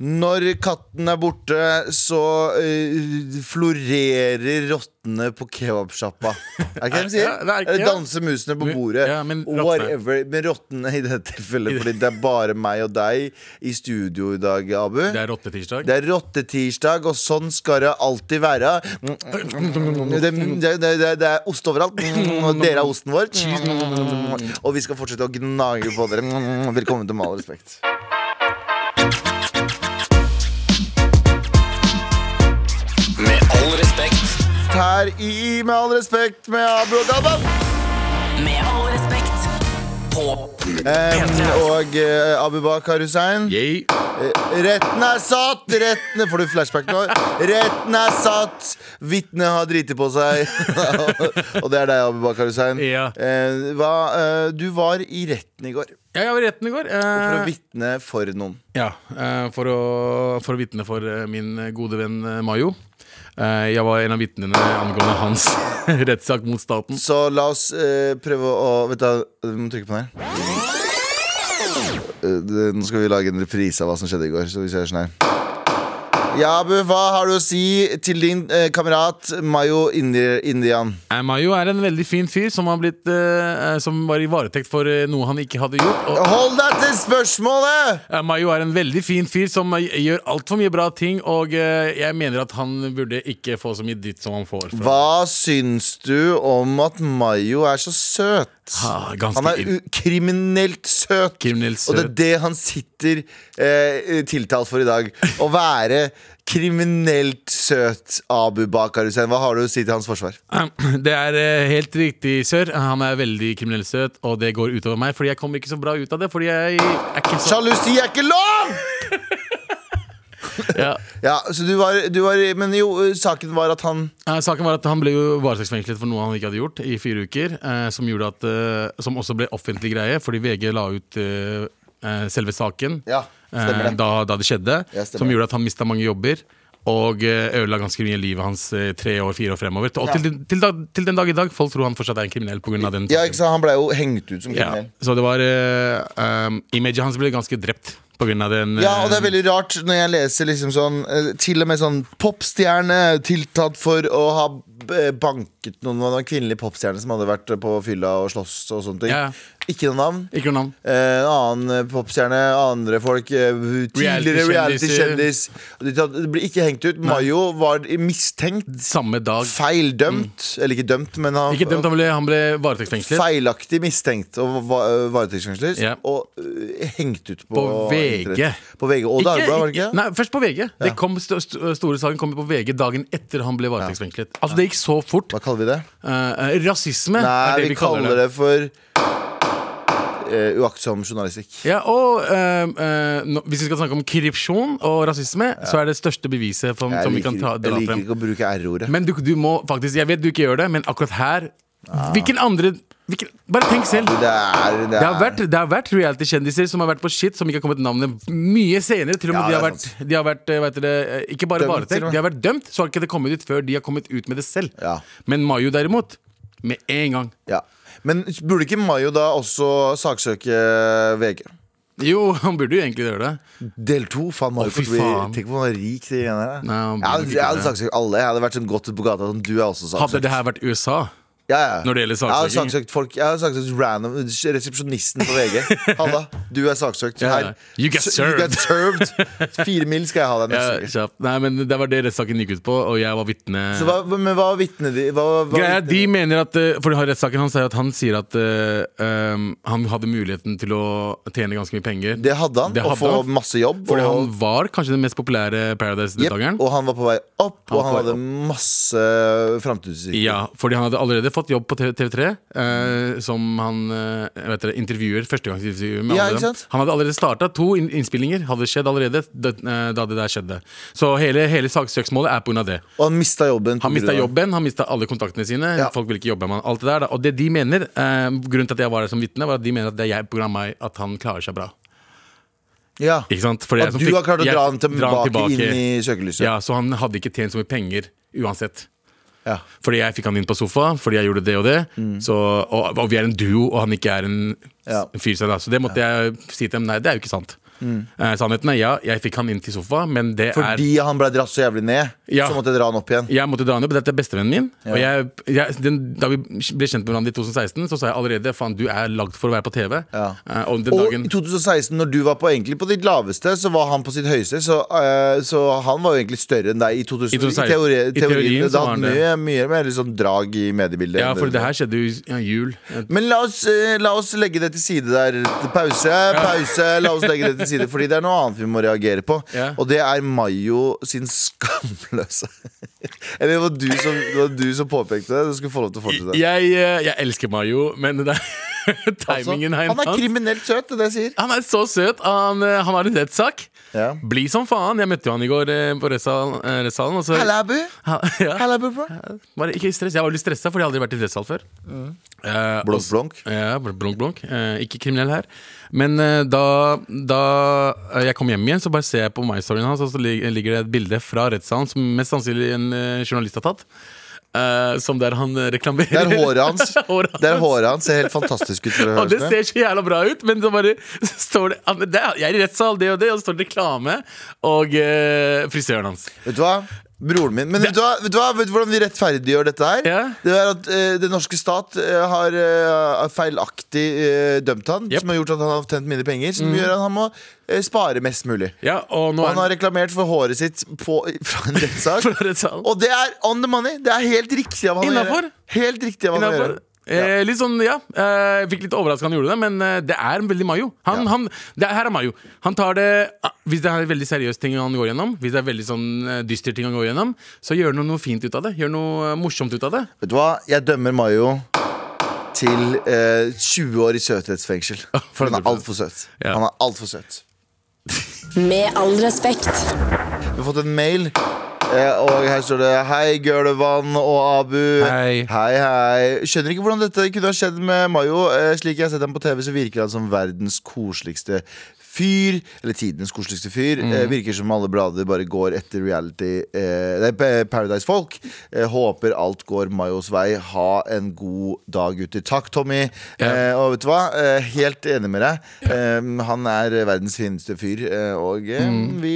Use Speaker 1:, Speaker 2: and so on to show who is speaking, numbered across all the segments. Speaker 1: Når katten er borte, så eh, florerer rottene på kebabsjappa. Er det ikke det de sier?
Speaker 2: Ja, det er ikke-
Speaker 1: Eller
Speaker 2: ja.
Speaker 1: danser musene på
Speaker 2: Mu-
Speaker 1: bordet.
Speaker 2: ja, men rottene.
Speaker 1: Whatever. Men rottene i dette tilfellet, fordi det er bare meg og deg i studio i dag, Abu.
Speaker 2: Det er rottetirsdag.
Speaker 1: Det er rottetirsdag, og sånn skal det alltid være. Det, det, det, det, det er ost overalt, og dere er osten vår. Og vi skal fortsette å gnage på dere. Velkommen til Med all respekt.
Speaker 3: Med all respekt.
Speaker 1: Her i Med all respekt med Abu og Galvan.
Speaker 3: Med all respekt. På
Speaker 1: Em, og eh, Abu Bakar Hussein.
Speaker 2: Yay.
Speaker 1: Retten er satt! Retten Får du flashback nå? Retten er satt! Vitnet har driti på seg. og det er deg, Abu Bakar Hussein.
Speaker 2: Ja.
Speaker 1: Eh, hva, eh, du var i retten i går.
Speaker 2: Ja, jeg var i retten i går. eh,
Speaker 1: For å vitne for noen.
Speaker 2: ja, eh, for, å, for å vitne for eh, min gode venn eh, Mayo. Eh, jeg var en av vitnene angående hans rettssak mot staten.
Speaker 1: Så la oss eh, prøve å Vet du, hva, du må trykke på den her. Eh, det- Nå skal vi lage en reprise av hva som skjedde i går. Så vi ser sånn her Ja, Abu, hva har du å si til din eh, kamerat Mayo Indi Indian?
Speaker 2: Eh, Mayo er en veldig fin fyr som, har blitt, eh, eh, som var i varetekt for eh, noe han ikke hadde gjort. Og,
Speaker 1: Hold deg til spørsmålet!
Speaker 2: Eh, Mayo er en veldig fin fyr som eh, gjør altfor mye bra ting, og eh, jeg mener at han burde ikke få så mye dritt som han får. fra-
Speaker 1: Hva syns du om at Mayo er så søt?
Speaker 2: Ah, ganske
Speaker 1: han er
Speaker 2: ill.
Speaker 1: u kriminelt søt.
Speaker 2: Kriminelt
Speaker 1: Og det er
Speaker 2: søt.
Speaker 1: det han sitter eh, tiltalt for i dag. Å være kriminelt søt, Abu Bakar Hussein. Hva har du å si til hans forsvar?
Speaker 2: Det er eh, helt riktig, sør. Han er veldig kriminell søt, og det går utover meg. Fordi jeg kommer ikke så bra ut av det. Fordi jeg er ikke så
Speaker 1: Sjalusi er ikke lov!
Speaker 2: ja.
Speaker 1: Ja, så du var, du var Men jo, saken var at han
Speaker 2: Eh, Saken var at Han ble jo varetektsfengslet for noe han ikke hadde gjort i fire uker. eh, Som, gjorde at, eh, som også ble offentlig greie, fordi VG la ut eh, eh, selve saken
Speaker 1: Ja, stemmer det.
Speaker 2: eh, da, da det skjedde.
Speaker 1: Ja, stemmer
Speaker 2: som
Speaker 1: det.
Speaker 2: gjorde at han mista mange jobber. Og eh, ødela ganske mye livet hans eh, tre år, fire år fremover. Og til, den- til, da, til den dag i dag, folk tror han fortsatt er en kriminell pga. den
Speaker 1: Ja,
Speaker 2: saken.
Speaker 1: ikke sant? Han ble jo hengt ut som
Speaker 2: Ja,
Speaker 1: kriminell.
Speaker 2: så det var uh, um, Imaget hans ble ganske drept på grunn av den
Speaker 1: Ja, og det er
Speaker 2: eh,
Speaker 1: veldig rart når jeg leser liksom sånn eh, Til og med sånn popstjerne tiltatt for å ha eh, banket noen Det var en kvinnelig popstjerne som hadde vært på fylla og slåss og sånne ting.
Speaker 2: Ja.
Speaker 1: Ikke noe navn.
Speaker 2: Ikke noe navn.
Speaker 1: Eh, En annen eh, popstjerne, andre folk, eh, tidligere
Speaker 2: Reality-kjendiser.
Speaker 1: reality-kjendis. De tatt- Det ble ikke hengt ut. Mayo var mistenkt.
Speaker 2: Samme dag.
Speaker 1: Feildømt. Eller ikke dømt, men han,
Speaker 2: Mm. Ikke dømt, han ble, han ble varetektsfengslet.
Speaker 1: feilaktig mistenkt og va- varetektsfengslet.
Speaker 2: Ja.
Speaker 1: Og eh, hengt ut på,
Speaker 2: På VG.
Speaker 1: internett. På VG og Dagbladet, var det ikke?
Speaker 2: Nei, først på VG. Det kom, st st store saken kom på VG dagen etter han ble varetektsfengslet. Altså, det gikk så fort.
Speaker 1: Hva kaller vi det?
Speaker 2: Eh, eh, rasisme
Speaker 1: Nei,
Speaker 2: er det
Speaker 1: vi, kaller det,
Speaker 2: det.
Speaker 1: for eh, uaktsom journalistikk.
Speaker 2: Ja, og eh, eh, nå- Hvis vi skal snakke om korrupsjon og rasisme, så er det største beviset for,
Speaker 1: Jeg
Speaker 2: som vi
Speaker 1: liker,
Speaker 2: kan ta,
Speaker 1: jeg
Speaker 2: dra
Speaker 1: liker
Speaker 2: frem.
Speaker 1: ikke å bruke r-ordet.
Speaker 2: Men du, du må faktisk Jeg vet du ikke gjør det, men akkurat her Hvilken andre hvilken, Bare tenk selv.
Speaker 1: Altså, Det er, det
Speaker 2: Det har
Speaker 1: er,
Speaker 2: vært, det har vært reality-kjendiser som har vært på shit, som ikke har kommet navnet mye senere. Til og med
Speaker 1: Ja,
Speaker 2: de, har
Speaker 1: det er
Speaker 2: vært, de har vært eh, vet dere, eh, ikke bare
Speaker 1: Dømt, til og
Speaker 2: varetekt,
Speaker 1: med.
Speaker 2: de har vært dømt. Så har ikke det kommet ut før de har kommet ut med det selv.
Speaker 1: Ja.
Speaker 2: Men Mayo derimot, med en gang.
Speaker 1: ja. Men burde ikke Mayo da også saksøke VG?
Speaker 2: Jo, han burde jo egentlig gjøre det.
Speaker 1: Del to? Faen, Mayo
Speaker 2: Å, fy
Speaker 1: fått bli-
Speaker 2: faen.
Speaker 1: Tenk på hvor rik de greiene der er.
Speaker 2: Nei,
Speaker 1: Jeg
Speaker 2: han burde
Speaker 1: hadde,
Speaker 2: ikke
Speaker 1: jeg
Speaker 2: det.
Speaker 1: hadde saksøkt alle. Jeg hadde vært sånn godt ute på gata som du er også saksøkt.
Speaker 2: Hadde det her vært USA
Speaker 1: ja, ja.
Speaker 2: når det gjelder
Speaker 1: Jeg hadde
Speaker 2: saksøking.
Speaker 1: saksøkt folk Jeg hadde saksøkt random resepsjonisten på VG. Halla, du er saksøkt.
Speaker 2: Ja, ja.
Speaker 1: Her.
Speaker 2: You get
Speaker 1: S- You get served. Fire mil skal jeg ha deg
Speaker 2: Ja,
Speaker 1: neste uke.
Speaker 2: kjapt. Nei, men Det var det rettssaken gikk ut på, og jeg var vitne.
Speaker 1: Så hva, hva- men hva vitner de? Hva, hva
Speaker 2: Greia er,
Speaker 1: vitner
Speaker 2: de mener at eh, For de har rettssaken hans er at han sier at eh, um, han hadde muligheten til å tjene ganske mye penger.
Speaker 1: Det hadde han,
Speaker 2: Det
Speaker 1: å
Speaker 2: hadde
Speaker 1: få
Speaker 2: han.
Speaker 1: masse jobb.
Speaker 2: Fordi han
Speaker 1: og,
Speaker 2: var kanskje den mest populære Paradise-deltakeren.
Speaker 1: Jep, og han var på vei opp, og
Speaker 2: Han var
Speaker 1: han
Speaker 2: på vei
Speaker 1: hadde masse framtidsutsikter.
Speaker 2: Ja, fordi han hadde allerede fått jobb på TV- TV3 eh, som han eh, vet dere, intervjuer. Førstegangsintervjuer med
Speaker 1: Ja,
Speaker 2: alle
Speaker 1: ikke
Speaker 2: dem.
Speaker 1: sant?
Speaker 2: Han hadde allerede starta to inn- innspillinger. Hadde skjedd allerede da, eh, da det der skjedde. Så hele, hele saksøksmålet er pga. det.
Speaker 1: Og han mista jobben. på
Speaker 2: Han mista
Speaker 1: grunn av-
Speaker 2: jobben, han mista alle kontaktene sine.
Speaker 1: Ja.
Speaker 2: Folk ville ikke jobbe med han, alt det der da. Og det de mener, eh, grunnen til at jeg var der som vitne, var at de mener at det er jeg pga. meg at han klarer seg bra.
Speaker 1: Ja.
Speaker 2: Ikke sant? Fordi jeg
Speaker 1: At
Speaker 2: som
Speaker 1: du
Speaker 2: fikk-
Speaker 1: har klart å
Speaker 2: jeg
Speaker 1: dra han
Speaker 2: dra
Speaker 1: tilbake, inn i søkelyset.
Speaker 2: Ja, så han hadde ikke tjent så mye penger uansett.
Speaker 1: Ja.
Speaker 2: Fordi jeg fikk han inn på sofa, fordi jeg gjorde det og det. Så, og, og vi er en duo, og han ikke er en
Speaker 1: Mm. Ja.
Speaker 2: ja. fyr. selv, da. Så det måtte jeg si til dem. Nei, det er jo ikke sant. Eh, sannheten er ja, jeg fikk han inn til sofa, men det
Speaker 1: Mm. Fordi han ble dratt så jævlig ned,
Speaker 2: Ja.
Speaker 1: så måtte jeg dra han opp igjen.
Speaker 2: er jeg måtte dra ned, men dette er bestevennen min. Og
Speaker 1: Ja.
Speaker 2: jeg, jeg, den, da vi ble kjent med hverandre i 2016, så sa jeg allerede faen, du er lagd for å være på TV.
Speaker 1: Ja.
Speaker 2: Eh, og den
Speaker 1: Og
Speaker 2: dagen
Speaker 1: i 2016, når du var på, egentlig på ditt laveste, så var han på sitt høyeste. Så, eh, så han var jo egentlig større enn deg i 2000. I,
Speaker 2: I
Speaker 1: teori,
Speaker 2: 2016. I
Speaker 1: teorien,
Speaker 2: teorien så
Speaker 1: det
Speaker 2: var han
Speaker 1: hadde mye, mye mer liksom drag i mediebildet.
Speaker 2: Ja,
Speaker 1: enn
Speaker 2: for det her skjedde jo i ja, jul. Eh,
Speaker 1: Men la oss, eh, la oss legge det til side der. Pause, pause. La oss legge det til side, fordi det er noe annet vi må reagere på.
Speaker 2: Ja.
Speaker 1: Og det er Mayo sin skamløse Eller det var du som, det var du som påpekte det. Du skulle få lov til å fortsette.
Speaker 2: Jeg, eh, jeg elsker Mayo, men det er
Speaker 1: Altså,
Speaker 2: timingen her
Speaker 1: han er kriminelt søt, det er det jeg sier.
Speaker 2: Han er så søt. Han, eh, han har en rettssak.
Speaker 1: Ja.
Speaker 2: Bli som faen. Jeg møtte jo han i går eh, på rettssalen. eh, rettssalen, og så-
Speaker 1: Halla, bu.
Speaker 2: Ha- ja.
Speaker 1: Halla, Mm. bu, bro.
Speaker 2: Bare ikke stress. Jeg var litt stressa, for jeg har aldri vært i rettssal før. Eh, og
Speaker 1: Blunk,
Speaker 2: s-
Speaker 1: blunk.
Speaker 2: Ja, bl- blunk, blunk. Eh, ikke kriminell her. Men eh, da, da eh, jeg kom hjem igjen, så bare ser jeg på MyStoryen hans, og så lig- ligger det et bilde fra rettssalen som mest sannsynlig en eh, journalist har tatt. eh, som der han eh, reklamerer.
Speaker 1: Det er håret hans.
Speaker 2: Håret
Speaker 1: Det er håret hans ser helt fantastisk ut. For å
Speaker 2: Og det
Speaker 1: høre det
Speaker 2: ser så jævla bra ut, men så bare så står det, han- det er, Jeg er i rettssal, det og det, og så står det reklame og eh, frisøren hans.
Speaker 1: Vet du hva? Broren min. Men vet du, hva? Vet, du hva? vet du hvordan vi rettferdiggjør dette her?
Speaker 2: Ja.
Speaker 1: Det er at eh, Den norske stat eh, har eh, feilaktig eh, dømt han,
Speaker 2: Yep.
Speaker 1: som har gjort at han har tjent mine penger. Som gjør at han må eh, spare mest mulig.
Speaker 2: Ja, og
Speaker 1: Og
Speaker 2: nå Mm. er
Speaker 1: han har reklamert for håret sitt på, fra en rettssak.
Speaker 2: fra rettssalen.
Speaker 1: Og det er on the money! Det er helt riktig av han å
Speaker 2: Innenfor.
Speaker 1: gjøre. Helt riktig av han å
Speaker 2: Innenfor.
Speaker 1: gjøre.
Speaker 2: Eh, litt sånn, ja eh, Jeg fikk litt overraska han gjorde det, men eh, det er veldig Mayo. Han,
Speaker 1: Ja.
Speaker 2: han, det er, her er Mayo. Han tar det ah, Hvis det er en veldig seriøs ting han går gjennom, Hvis det er veldig sånn eh, dyster ting han går gjennom, så gjør noe, noe fint ut av det. Gjør noe eh, morsomt ut av det.
Speaker 1: Vet du hva? Jeg dømmer Mayo til eh, 20 år i søthetsfengsel. For han er
Speaker 2: 100%.
Speaker 1: altfor søt.
Speaker 2: Ja.
Speaker 1: Han er alt for søt.
Speaker 4: Med all respekt.
Speaker 1: Vi har fått en mail, eh, og her står det Hei, Gørlevann og Abu.
Speaker 2: Hei.
Speaker 1: hei. hei. Skjønner ikke hvordan dette kunne ha skjedd med Mayo. Eh, Slik jeg har sett ham på TV, så virker han som verdens koseligste fyr. Eller tidenes koseligste fyr. Eh, virker som alle blader bare går etter reality eh, nei, Pa- Paradise-folk. Eh, håper alt går Mayos vei. Ha en god dag, gutter. Takk, Tommy.
Speaker 2: Ja.
Speaker 1: Eh, og vet du hva? Eh, helt enig med deg. Eh, han er verdens fineste fyr, eh, og eh, vi,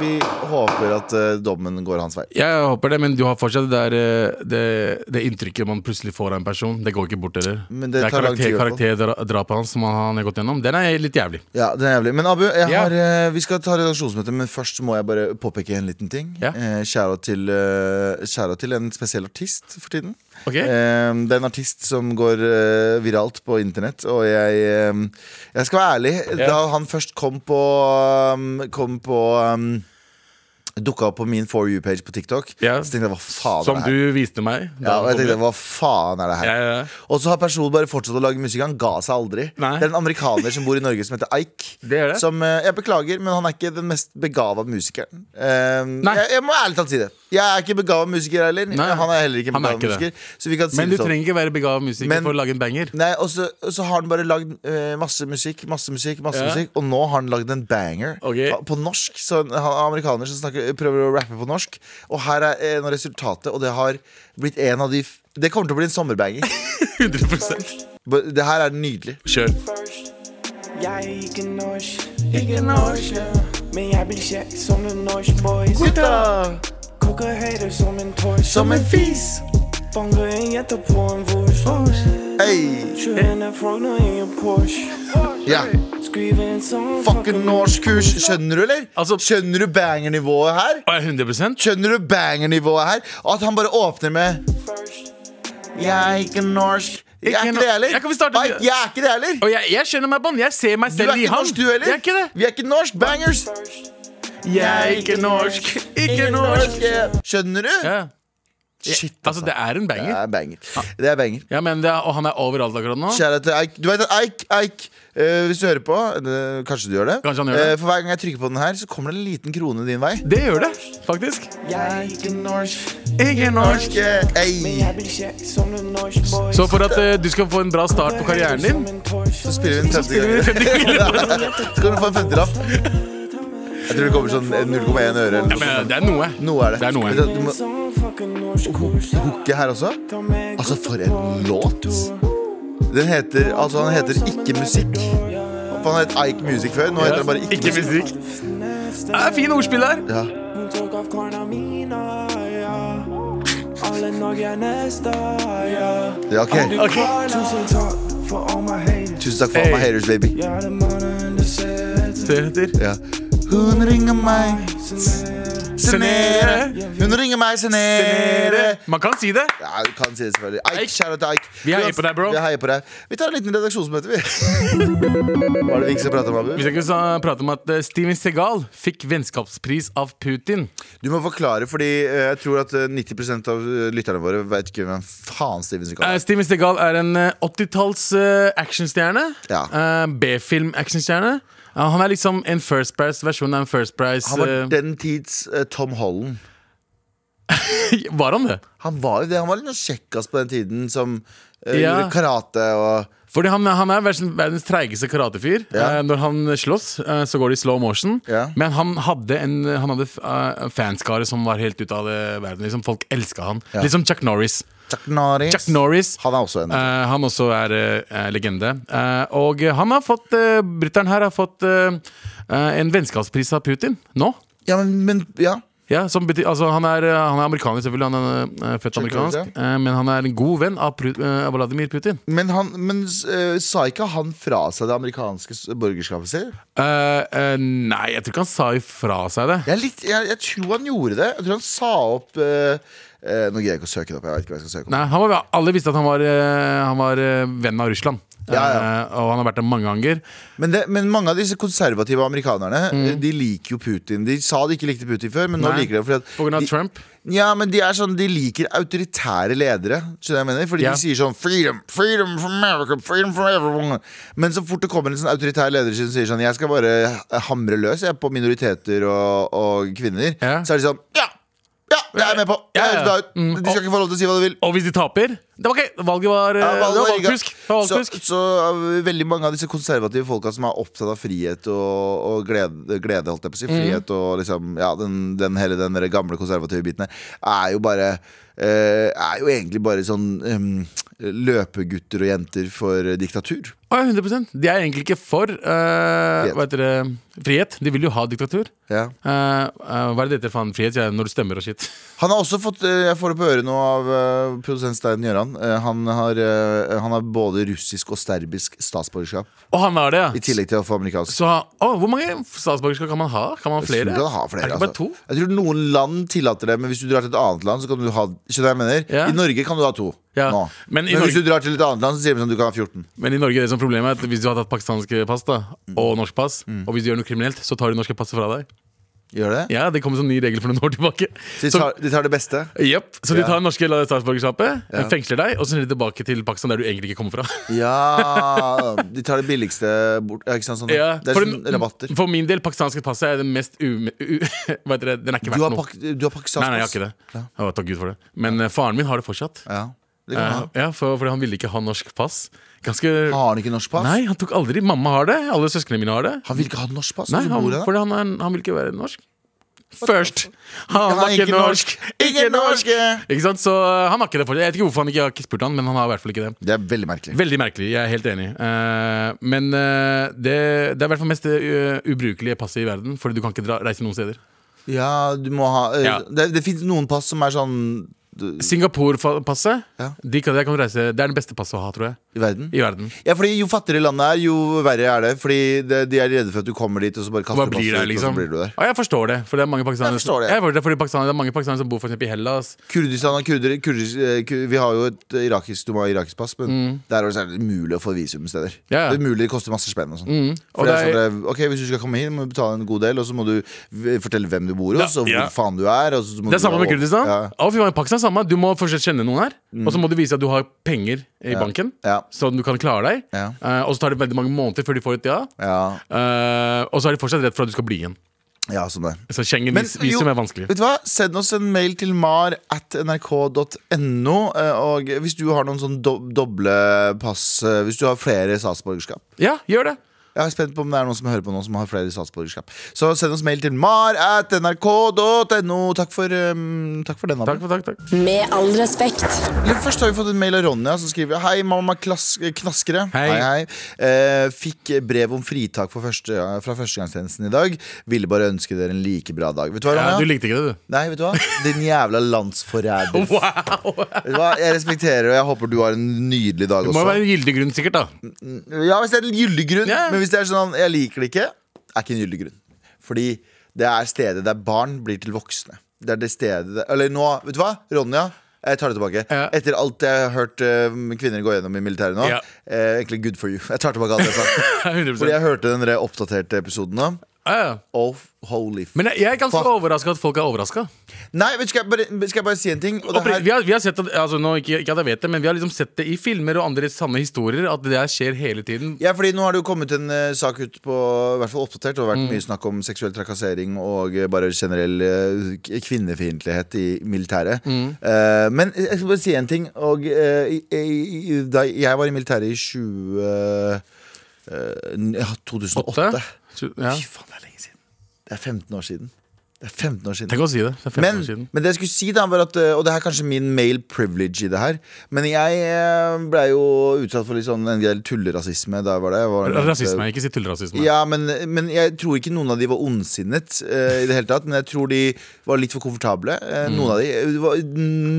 Speaker 1: vi håper at eh, dommen går hans vei.
Speaker 2: Jeg håper det, men du har fortsatt det, der, eh, det, det inntrykket man plutselig får av en person. Det går ikke bort, heller.
Speaker 1: Men
Speaker 2: det
Speaker 1: det
Speaker 2: er
Speaker 1: tar lang tid, i
Speaker 2: karakter,
Speaker 1: hvert fall.
Speaker 2: karakterdrapet hans som han har gått gjennom. Den er litt jævlig.
Speaker 1: Ja, det er jævlig. Men Abu, jeg
Speaker 2: Ja.
Speaker 1: har, eh, vi skal ta redaksjonsmøte, men først må jeg bare påpeke en liten ting.
Speaker 2: Ja.
Speaker 1: Eh, Kjære til, eh, kjære til en spesiell artist for tiden.
Speaker 2: Ok.
Speaker 1: Eh, det er en artist som går eh, viralt på internett, og jeg, eh, jeg skal være ærlig. Da han først kom på, um, kom på um, Dukka opp på min For you-page på TikTok,
Speaker 2: Ja.
Speaker 1: så tenkte jeg hva faen
Speaker 2: Som
Speaker 1: er det her?
Speaker 2: du viste meg.
Speaker 1: Ja,
Speaker 2: da
Speaker 1: og jeg
Speaker 2: kom
Speaker 1: tenkte,
Speaker 2: det.
Speaker 1: hva faen er det her?
Speaker 2: Ja, ja, ja.
Speaker 1: Og så har personen bare fortsatt å lage musikk. Han ga seg aldri.
Speaker 2: Nei.
Speaker 1: Det er en amerikaner som bor i Norge som heter Ike.
Speaker 2: Det er det.
Speaker 1: Som, eh, jeg beklager, men han er ikke den mest begava musikeren. Eh,
Speaker 2: Nei.
Speaker 1: jeg, jeg må ærlig talt si det. Jeg er ikke begava musiker heller.
Speaker 2: Nei.
Speaker 1: Han er heller ikke
Speaker 2: Han er
Speaker 1: begava
Speaker 2: ikke det.
Speaker 1: musiker. Så vi kan si
Speaker 2: Men du
Speaker 1: det sånn.
Speaker 2: trenger ikke være begavet musiker
Speaker 1: Men-
Speaker 2: for å lage en banger.
Speaker 1: Nei, og så, og så har han bare lagd eh, masse musikk, masse musikk, masse
Speaker 2: Ja.
Speaker 1: musikk. Og nå har han lagd en banger
Speaker 2: Ok.
Speaker 1: på norsk. Så han han er amerikaner som snakker, prøver å rappe på norsk. Og her er en av resultatet, og det har blitt en av de f- Det kommer til å bli en sommerbanger.
Speaker 2: 100%
Speaker 1: But Det her er nydelig.
Speaker 2: Kjør.
Speaker 5: Jeg ikke norsk, ikke norsk, ja. Men jeg blir kjekk som den norske boys. Koker hater som en tors.
Speaker 1: Som en fis!
Speaker 5: Fanger en jente på en vors.
Speaker 1: Hey.
Speaker 5: Kjører
Speaker 2: Eh.
Speaker 5: henne frogner i en Porsche.
Speaker 1: Ja.
Speaker 5: Skriver en sang.
Speaker 1: Fucking norskkurs. Skjønner du, eller?
Speaker 2: Altså-
Speaker 1: Skjønner du banger-nivået her?
Speaker 2: Å, ja, 100
Speaker 1: Skjønner du banger-nivået her? Og at han bare åpner med Jeg er ikke norsk. Jeg er
Speaker 2: Ikke
Speaker 1: ikke
Speaker 2: no-
Speaker 1: det heller.
Speaker 2: Jeg kan vi starte-
Speaker 1: Nei, jeg er ikke det heller.
Speaker 2: Og jeg, jeg skjønner meg på den. Jeg ser meg
Speaker 1: Du
Speaker 2: selv
Speaker 1: er
Speaker 2: i
Speaker 1: ikke
Speaker 2: han.
Speaker 1: norsk, du heller.
Speaker 2: Jeg er ikke det.
Speaker 1: Vi er ikke norsk bangers.
Speaker 2: Jeg er ikke norsk. Ikke norsk.
Speaker 1: Skjønner du?
Speaker 2: Ja.
Speaker 1: Shit,
Speaker 2: Altså, det er en
Speaker 1: Det
Speaker 2: banger.
Speaker 1: er banger. Det er banger.
Speaker 2: Ja, men det er, og han er overalt akkurat nå.
Speaker 1: Kjære til Eik. Du vet at Eik, Eik eh, hvis du hører på, eh, kanskje du gjør det.
Speaker 2: Kanskje han gjør det.
Speaker 1: Eh, for hver gang jeg trykker på den her, så kommer det en liten krone din vei.
Speaker 2: Det gjør det, faktisk. Ikke norsk.
Speaker 1: eh, Ey.
Speaker 5: Jeg blir kjekk som den norske boys.
Speaker 2: Så for at eh, du skal få en bra start på karrieren din
Speaker 1: Så spiller vi en 50 ganger. Så kan du få en 50-lapp. Jeg tror det kommer sånn 0,1 øre eller noe.
Speaker 2: Men eh, det er noe.
Speaker 1: Noe er det.
Speaker 2: Det er noe.
Speaker 1: Vet du, du må
Speaker 5: Sånn fucking norsk kurs.
Speaker 1: hooke her også. Altså, for en låt! Den heter, altså, han heter Ikke Musikk. For han het Ike Music før. Nå heter han bare Ikke,
Speaker 2: Ikke musikk. Det er fin ordspill der.
Speaker 1: Ja.
Speaker 5: Hun tok av korna mine, ja. Alle Norge er neste, ja.
Speaker 1: ja, ok.
Speaker 2: Ok.
Speaker 5: Tusen takk for all my haters.
Speaker 1: Tusen takk for all my
Speaker 2: Hey.
Speaker 1: haters, baby.
Speaker 5: Jeg er det mannen du ser etter.
Speaker 2: Ser etter.
Speaker 1: Ja. Hun ringer meg, Senere. Hun ringer meg, Senere.
Speaker 2: Man kan si det.
Speaker 1: Ja, du kan si det selvfølgelig. Eik,
Speaker 2: Eik.
Speaker 1: kjære til Eik.
Speaker 2: Vi heier på deg, bro.
Speaker 1: Vi heier på deg. Vi tar en liten redaksjonsmøte, vi. Hva er det vi ikke skal prate om,
Speaker 2: Vi
Speaker 1: Abu?
Speaker 2: skal ikke så- prate om at eh, Steven Segal fikk vennskapspris av Putin.
Speaker 1: Du må forklare, fordi eh, jeg tror at eh, 90 av eh, lytterne våre vet ikke hvem faen Steven Segal
Speaker 2: Eh,
Speaker 1: er.
Speaker 2: Steven Segal er en eh, 80-talls eh, actionstjerne.
Speaker 1: Ja.
Speaker 2: Eh, B-film-actionstjerne. Ja, han er liksom en First Price-versjon av en First Price.
Speaker 1: Han var
Speaker 2: eh,
Speaker 1: den tids eh, Tom Holland.
Speaker 2: var han det?
Speaker 1: Han var jo det. Han var litt kjekkas på den tiden som eh,
Speaker 2: Ja.
Speaker 1: gjorde karate og
Speaker 2: Fordi han, han er verdens, verdens treigeste karatefyr.
Speaker 1: Ja.
Speaker 2: Eh, når han slåss, eh, så går det i slow motion.
Speaker 1: Ja.
Speaker 2: Men han hadde en Han hadde f- eh, fanskare som var helt ute av det verden. Liksom, folk elska han.
Speaker 1: Ja.
Speaker 2: Liksom Chuck Norris.
Speaker 1: Chuck Norris.
Speaker 2: Chuck Norris.
Speaker 1: Han er også en.
Speaker 2: Eh, han også er eh, legende. Eh, og han har fått uh, Bryteren her har fått eh, eh, en vennskapspris av Putin nå.
Speaker 1: ja, men, men ja.
Speaker 2: Ja, som betyr, altså, han, er, eh, han er amerikaner, selvfølgelig. Han er eh, født
Speaker 1: Norris,
Speaker 2: amerikansk. eh, men han er en god venn av Pru- eh, av Vladimir Putin.
Speaker 1: Men, han, men eh, sa ikke han fra seg det amerikanske s- borgerskapet sitt?
Speaker 2: Eh, eh, nei, jeg tror ikke han sa ifra seg det.
Speaker 1: Jeg, er litt, jeg, jeg tror han gjorde det. Jeg tror han sa opp eh, eh, Nå greier jeg ikke å søke det opp. Jeg vet ikke hva jeg skal søke opp
Speaker 2: Nei, han var, Alle visste at han var, eh, han var eh, venn av Russland.
Speaker 1: Ja, ja.
Speaker 2: Eh, og han har vært der mange ganger.
Speaker 1: men, det, men mange av disse konservative amerikanerne eh, De liker jo Putin. De sa de ikke likte Putin før, men nå
Speaker 2: Mm. Nei.
Speaker 1: liker de fordi at
Speaker 2: På grunn av
Speaker 1: de,
Speaker 2: Trump.
Speaker 1: Ja, men de er sånn, de liker autoritære ledere. Skjønner du hva jeg mener? Fordi
Speaker 2: Ja.
Speaker 1: de sier sånn Freedom, freedom from America, freedom from everyone. Men så fort det kommer en sånn autoritær leder som sier sånn Jeg skal bare hamre løs jeg, på minoriteter og, og kvinner,
Speaker 2: Ja.
Speaker 1: så er de sånn Ja! Ja, jeg er med på! Jeg
Speaker 2: Ja, ja.
Speaker 1: høres bra ut.
Speaker 2: Mm,
Speaker 1: De skal
Speaker 2: og-
Speaker 1: ikke få lov til å si hva de vil.
Speaker 2: Og hvis de taper Det var ok, valget var, eh,
Speaker 1: Ja, valget
Speaker 2: det var
Speaker 1: var rigga.
Speaker 2: valgfusk. Det var
Speaker 1: Så,
Speaker 2: valgfusk.
Speaker 1: så uh, veldig mange av disse konservative folka som er opptatt av frihet og, og glede, glede, holdt jeg på å si,
Speaker 2: Mm.
Speaker 1: frihet og liksom, ja, den, den, hele den der gamle konservative biten her, er jo bare eh, Er jo egentlig bare sånn em, løpegutter og jenter for eh, diktatur.
Speaker 2: Å, ja, 100 De er egentlig ikke for eh, hva heter det, frihet. De vil jo ha diktatur.
Speaker 1: Ja.
Speaker 2: Eh, eh, hva er det det heter faen frihet ja, når du stemmer og shit?
Speaker 1: Han har også fått eh, Jeg får det på øret nå av eh, produsent Stein Gjøran. Eh, Han har, eh, han har både russisk og serbisk statsborgerskap.
Speaker 2: Å, han har det, ja!
Speaker 1: I tillegg til å få amerikansk.
Speaker 2: Så, å, hvor mange statsborgerskap kan man ha? Kan man ha
Speaker 1: Jeg
Speaker 2: flere?
Speaker 1: tror du kan ha flere,
Speaker 2: er det ikke bare
Speaker 1: altså.
Speaker 2: to?
Speaker 1: Jeg tror noen land tillater det, men hvis du drar til et annet land, så kan du ha Skjønner du hva jeg mener?
Speaker 2: Ja.
Speaker 1: I Norge kan du ha to.
Speaker 2: Ja.
Speaker 1: Nå. Men,
Speaker 2: Men i
Speaker 1: hvis
Speaker 2: Norge-
Speaker 1: du drar til et annet land, så sier de sånn du kan ha 14.
Speaker 2: Men i Norge er det som problemet er at hvis du har tatt pakistanske pass da,
Speaker 1: Mm.
Speaker 2: og norsk pass, og hvis du gjør noe kriminelt, så tar de norske passet fra deg.
Speaker 1: Gjør det?
Speaker 2: Ja, Det kom en sånn ny regel for noen år tilbake.
Speaker 1: Så de
Speaker 2: Så,
Speaker 1: tar, de tar det beste?
Speaker 2: Jep, så de
Speaker 1: Ja.
Speaker 2: tar det norske statsborgerskapet,
Speaker 1: Ja. Mm.
Speaker 2: fengsler deg, og så sender de tilbake til Pakistan, der du egentlig ikke kommer fra.
Speaker 1: Ja De tar det billigste bort. Ja, ikke sant? Sånn.
Speaker 2: Ja,
Speaker 1: Det er
Speaker 2: for,
Speaker 1: sånn rabatter.
Speaker 2: for min del, pakistanske passet er det mest ume... U, hva heter det? Den er ikke
Speaker 1: Du
Speaker 2: verdt
Speaker 1: har,
Speaker 2: noe.
Speaker 1: pak du har pakistansk
Speaker 2: Nei, nei, jeg har ikke det.
Speaker 1: Ja.
Speaker 2: Å, takk Gud for det. Men eh, faren min har det fortsatt.
Speaker 1: Ja, det kan du ha.
Speaker 2: Eh, ja, for, fordi han ville ikke ha norsk pass. Ganske
Speaker 1: Har han ikke norsk pass?
Speaker 2: Nei, han tok aldri. Mamma har det. Alle søsknene mine har det.
Speaker 1: Han vil ikke ha norsk pass?
Speaker 2: Nei,
Speaker 1: hvor
Speaker 2: han,
Speaker 1: bor han, da?
Speaker 2: fordi han, er, han vil ikke være norsk. Først! Han
Speaker 1: Han
Speaker 2: var
Speaker 1: er
Speaker 2: ikke
Speaker 1: ikke
Speaker 2: norsk!
Speaker 1: norsk. Ikke norsk.
Speaker 2: Ikke sant? Så eh, han har ikke det fortsatt. Jeg vet ikke hvorfor han ikke jeg har ikke spurt han, men han har i hvert fall ikke det.
Speaker 1: Det er veldig merkelig.
Speaker 2: Veldig merkelig, jeg er helt enig. Eh, men eh, det, det er i hvert fall mest det eh, ubrukelige passet i verden, Fordi du kan ikke dra, reise noen steder.
Speaker 1: Ja, du må ha eh,
Speaker 2: Ja.
Speaker 1: Det, det fins noen pass som er sånn du-
Speaker 2: Singapore-passet
Speaker 1: Ja.
Speaker 2: de kan, der kan du reise, det er det beste passet å ha, tror jeg.
Speaker 1: i verden.
Speaker 2: I verden.
Speaker 1: Ja, fordi Jo fattigere landet er, jo verre er det. Fordi det, de er redde for at du kommer dit, og så bare kaster
Speaker 2: Hva
Speaker 1: du
Speaker 2: blir
Speaker 1: passet
Speaker 2: det,
Speaker 1: ut,
Speaker 2: liksom?
Speaker 1: og så blir du der.
Speaker 2: Ja, jeg forstår det. For det er mange pakistanere
Speaker 1: Jeg forstår det.
Speaker 2: Jeg forstår det, fordi pakistanere, det er mange pakistanere som bor for eksempel i Hellas.
Speaker 1: Kurdistan og kurder, kurdisk- eh, kur- Vi har jo et eh, irakisk Du må ha irakisk pass, men der er det særlig umulig å få visum steder.
Speaker 2: Mm. Ja, ja. Mm.
Speaker 1: Det er umulig, det koster masse spenn og sånn.
Speaker 2: og
Speaker 1: For det er
Speaker 2: det
Speaker 1: sånn, det er- ok, Hvis du skal komme hit, må du betale en god del, og så må du v- fortelle hvem du bor hos,
Speaker 2: Ja,
Speaker 1: og hvor
Speaker 2: ja.
Speaker 1: faen du er. Og så må
Speaker 2: Det er
Speaker 1: du-
Speaker 2: samme med Kurdistan.
Speaker 1: Ja. Mm.
Speaker 2: Å, fy faen, Pakistan er samme. Du må fortsatt kjenne noen her, og så må du vise at du har penger i banken,
Speaker 1: Ja.
Speaker 2: sånn du kan klare deg.
Speaker 1: Ja.
Speaker 2: Eh, og så tar det veldig mange måneder før de får et ja.
Speaker 1: Ja,
Speaker 2: Eh, og så er de fortsatt redd for at du skal bli igjen.
Speaker 1: ja, sånn det.
Speaker 2: Så Schengen-visum
Speaker 1: jo,
Speaker 2: er vanskelig.
Speaker 1: Vet du hva? Send oss en mail til mar at nrk.no. eh, Og hvis du har noen sånn do doble pass eh, Hvis du har flere statsborgerskap
Speaker 2: Ja, gjør det.
Speaker 1: Jeg er spent på om det er noen som hører på nå som har flere statsborgerskap. Så send oss mail til mar.nrk.no. Takk for, um, takk for den. Abu.
Speaker 2: Takk, for- takk, takk.
Speaker 4: Med all respekt.
Speaker 1: Eller Først har vi fått en mail av Ronja som skriver Hei, mamma klass knaskere.
Speaker 2: Hei.
Speaker 1: hei, Eh, fikk brev om fritak for første, fra førstegangstjenesten i dag. Ville bare ønske dere en like bra dag. Vet du hva,
Speaker 2: Ja,
Speaker 1: Ronja?
Speaker 2: du likte ikke det, du.
Speaker 1: Nei, vet du hva? Din jævla landsforræder. Vet du hva? Jeg respekterer og jeg håper du har en nydelig dag
Speaker 2: Det
Speaker 1: også.
Speaker 2: må jo være en gyldig grunn, sikkert. da
Speaker 1: Ja, hvis det er en gyldig grunn.
Speaker 2: Ja.
Speaker 1: Men hvis det er sånn jeg liker det ikke, er ikke en gyldig grunn. Fordi det er stedet der barn blir til voksne. Det er det stedet der, Eller nå, vet du hva? Ronja. Jeg tar det tilbake.
Speaker 2: Ja.
Speaker 1: Etter alt jeg har hørt eh, kvinner gå gjennom i militæret nå.
Speaker 2: Ja.
Speaker 1: Eh, egentlig good for you. Jeg tar tilbake alt jeg sa.
Speaker 2: 100%
Speaker 1: Fordi jeg hørte den der oppdaterte episoden nå.
Speaker 2: ja, ja.
Speaker 1: Oh, holy f...
Speaker 2: Men jeg, jeg er ganske
Speaker 1: Fuck.
Speaker 2: overraska at folk er overraska.
Speaker 1: Nei, vet du, skal jeg bare, skal jeg bare si en ting? Og det her-
Speaker 2: Vi, har- vi har sett at, altså, nå, ikke, ikke at jeg vet det, men vi har liksom sett det i filmer og andre sanne historier at det der skjer hele tiden.
Speaker 1: Ja, fordi nå har det jo kommet en eh, sak ut på i hvert fall oppdatert. og Det har
Speaker 2: Mm.
Speaker 1: vært mye snakk om seksuell trakassering og eh, bare generell uh, kvinnefiendtlighet i militæret.
Speaker 2: Mm.
Speaker 1: Eh, men jeg skal bare si en ting. Og, eh, i- i- i- da jeg var i militæret i 20... eh, ja, 2008.
Speaker 2: Åtte? Tju- Ja.
Speaker 1: Fy faen, det er lenge siden. Det er 15 år siden. Det er 15 år siden.
Speaker 2: Tenk å si det. Det er 15 år siden.
Speaker 1: Men, men det jeg skulle si da var at øh, Og det er kanskje min male privilege i det her Men jeg øh, ble jo utsatt for litt sånn En del tullerasisme da jeg var det Jeg var-
Speaker 2: Rasisme. Ikke si tullerasisme.
Speaker 1: ja, men, men jeg tror ikke noen av de var ondsinnet eh, I det hele tatt Men jeg tror de var litt for komfortable eh, Noen av de Det var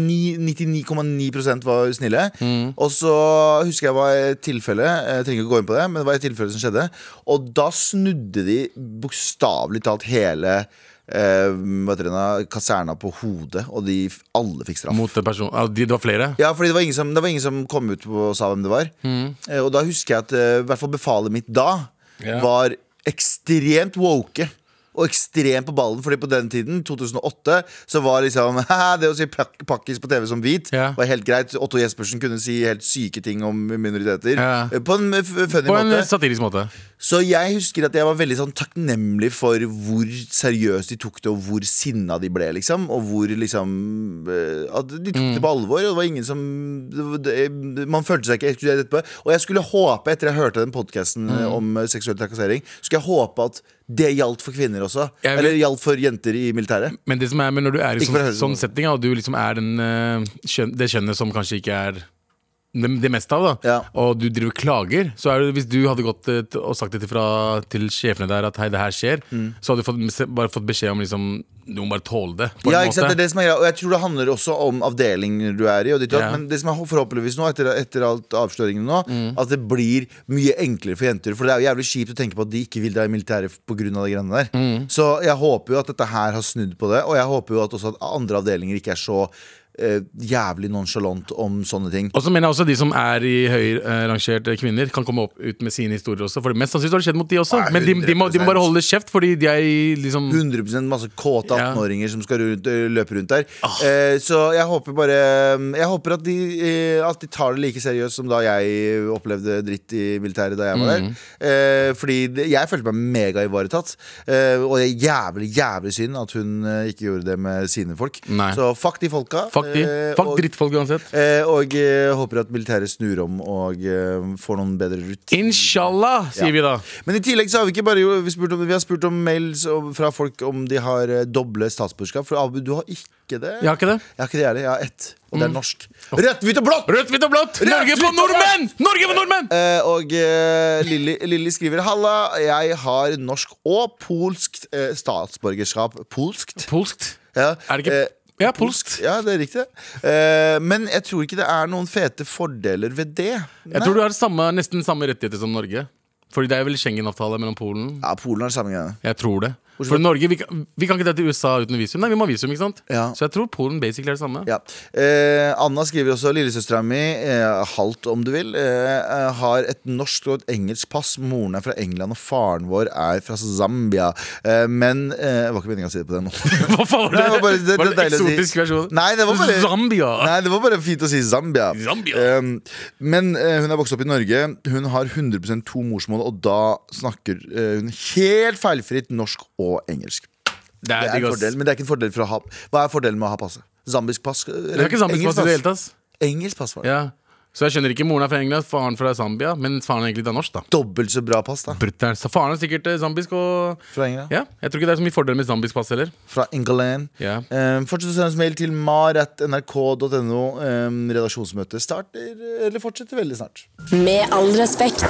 Speaker 1: ni- 99,9% var snille Og så husker jeg var et tilfelle Jeg trenger ikke gå inn på det Men det var et tilfelle som skjedde Og da snudde de bokstavelig talt hele eh, hva heter det nå, kaserna på hodet Og de f- alle fikk straff
Speaker 2: Mot en person ah, de, Det var flere?
Speaker 1: ja, fordi det var, ingen som, det var ingen som kom ut og sa hvem det var.
Speaker 2: Mm.
Speaker 1: Eh, Og da husker jeg at eh, i hvert fall befalet mitt da
Speaker 2: Ja.
Speaker 1: var ekstremt woke. Og ekstremt på ballen, fordi på den tiden, 2008, så var liksom «Haha, Det å si pak pakkis på TV som hvit
Speaker 2: Ja.
Speaker 1: var helt greit. Otto Jespersen kunne si helt syke ting om minoriteter.
Speaker 2: Ja.
Speaker 1: eh, På en eh, f- funny
Speaker 2: På en
Speaker 1: måte.
Speaker 2: satirisk måte.
Speaker 1: Så jeg husker at jeg var veldig sånn takknemlig for hvor seriøst de tok det, og hvor sinna de ble, liksom. Og hvor liksom eh, At de tok
Speaker 2: Mm.
Speaker 1: det på alvor. Og det var ingen som det- det- Man følte seg ikke ekskludert etterpå. Og jeg skulle håpe, etter jeg hørte den podkasten
Speaker 2: Mm.
Speaker 1: om eh, seksuell trakassering, skulle jeg håpe at det gjaldt for kvinner også.
Speaker 2: Jeg vil-
Speaker 1: Eller gjaldt for jenter i militæret.
Speaker 2: Men det som er, men når du er i
Speaker 1: Ikke for å
Speaker 2: sånn,
Speaker 1: høre det
Speaker 2: sånn
Speaker 1: nå.
Speaker 2: setting, ja, og du liksom er den, eh, kjønn, det kjønnet som kanskje ikke er det, det meste av, da
Speaker 1: Ja.
Speaker 2: og du driver klager, så er det, hvis du hadde gått eh, t- og sagt det til, fra, til sjefene der at hei, det her skjer,
Speaker 1: Mm.
Speaker 2: så hadde du fått, se- bare fått beskjed om liksom Du må bare tåle det. på en
Speaker 1: Ja, ikke sant,
Speaker 2: måte.
Speaker 1: det er det som er greia Og jeg tror det handler også om avdelingen du er i og ditt og datt,
Speaker 2: Ja. Mm.
Speaker 1: Men det som er forhåpentligvis nå Etter, etter alt avsløringene nå At det blir mye enklere for jenter For det er jo jævlig kjipt å tenke på at de ikke vil dra i militæret På grunn av de greiene der
Speaker 2: Mm.
Speaker 1: Så jeg håper jo at dette her har snudd på det Og jeg håper jo at også at andre avdelinger ikke er så eh, Jævlig nonchalant om sånne ting
Speaker 2: Og så mener jeg også de som er i høyrangerte kvinner, kan komme opp ut med sine historier også. For det mest sannsynlig har det skjedd mot de også.
Speaker 1: Nei,
Speaker 2: Men de, de, må, de
Speaker 1: 100%.
Speaker 2: må bare holde kjeft, fordi de er i liksom
Speaker 1: 100 masse kåte
Speaker 2: Ja. Ah.
Speaker 1: 18-åringer som skal rundt, løpe rundt der. Eh, så jeg håper bare mm, Jeg håper at de, eh, at de tar det like seriøst som da jeg opplevde dritt i militæret da jeg var der.
Speaker 2: Mm.
Speaker 1: Eh, fordi det, jeg følte meg megaivaretatt. Eh, og det er jævlig, jævlig synd at hun eh, ikke gjorde det med sine folk.
Speaker 2: Nei.
Speaker 1: Så fuck de folka.
Speaker 2: Fuck de.
Speaker 1: eh,
Speaker 2: Fuck
Speaker 1: og-
Speaker 2: drittfolk uansett.
Speaker 1: Eh, og eh, håper at militæret snur om og eh, får noen bedre rutiner.
Speaker 2: Inshallah, sier
Speaker 1: Ja.
Speaker 2: vi da.
Speaker 1: Men i tillegg så har vi ikke bare jo- vi, spurt om, vi har spurt om mails om- fra folk om de har eh, doble statsborgerskap. For Abu, du har ikke det.
Speaker 2: Jeg har ikke det.
Speaker 1: Jeg har ikke det heller. Jeg har ett, og
Speaker 2: Mm.
Speaker 1: det er norsk. Rødt, hvitt og blått!
Speaker 2: Rødt, hvitt og blått! Norge
Speaker 1: hvitt
Speaker 2: på
Speaker 1: og
Speaker 2: nordmenn! Norge på nordmenn!
Speaker 1: Eh, og eh, Lilly, Lilly skriver Halla, jeg har norsk og polskt eh, statsborgerskap. Polskt?
Speaker 2: Polskt.
Speaker 1: Ja.
Speaker 2: Er det ikke
Speaker 1: Eh,
Speaker 2: Ja, polskt.
Speaker 1: Ja, det er riktig. Eh, men jeg tror ikke det er noen fete fordeler ved det.
Speaker 2: Jeg tror du har samme, nesten samme rettigheter som Norge. Fordi det er vel Schengen-avtale mellom Polen.
Speaker 1: Ja, Polen har samme greie.
Speaker 2: Jeg tror det.
Speaker 1: Hvorfor-
Speaker 2: For Norge, vi kan, vi kan ikke dra til USA uten visum. Nei, vi må ha visum, ikke sant?
Speaker 1: Ja.
Speaker 2: Så jeg tror Polen basically er det samme.
Speaker 1: Ja. Eh, Anna skriver også lillesøstera mi, eh, halvt om du vil, eh, eh, har et norsk og et engelsk pass. Moren er fra England, og faren vår er fra Zambia. Eh, men eh, Det var ikke meningen å si det på den måten.
Speaker 2: Hva faen var det?
Speaker 1: Nei, det var bare- det- det
Speaker 2: var
Speaker 1: er deilig
Speaker 2: det
Speaker 1: å si.
Speaker 2: eksotisk versjon?
Speaker 1: Nei, det var bare-
Speaker 2: Zambia!
Speaker 1: Nei, det var bare fint å si Zambia.
Speaker 2: Zambia.
Speaker 1: Eh, men eh, hun er vokst opp i Norge. Hun har 100 to morsmål, og da snakker eh, hun helt feilfritt norsk og engelsk.
Speaker 2: Det
Speaker 1: Det
Speaker 2: er,
Speaker 1: er
Speaker 2: digg,
Speaker 1: en
Speaker 2: ass.
Speaker 1: fordel, men det er ikke en fordel for å ha Hva er fordelen med å ha passet? Zambisk pass?
Speaker 2: Det er ikke sammenpass i det hele tatt. ass.
Speaker 1: Engelsk pass var det.
Speaker 2: Ja. Så jeg skjønner ikke moren er fra England, faren fra Zambia, men faren er egentlig da norsk, da.
Speaker 1: Dobbelt så bra pass, da.
Speaker 2: Brutter'n. Så faren er sikkert eh, zambisk og
Speaker 1: Fra England.
Speaker 2: Ja, jeg tror ikke det er så mye fordeler med zambisk pass heller.
Speaker 1: Fra England.
Speaker 2: Ja.
Speaker 1: Um, fortsett å sende oss mail til mar.nrk.no. Um, redaksjonsmøtet starter, eller fortsetter veldig snart.
Speaker 4: Med all respekt.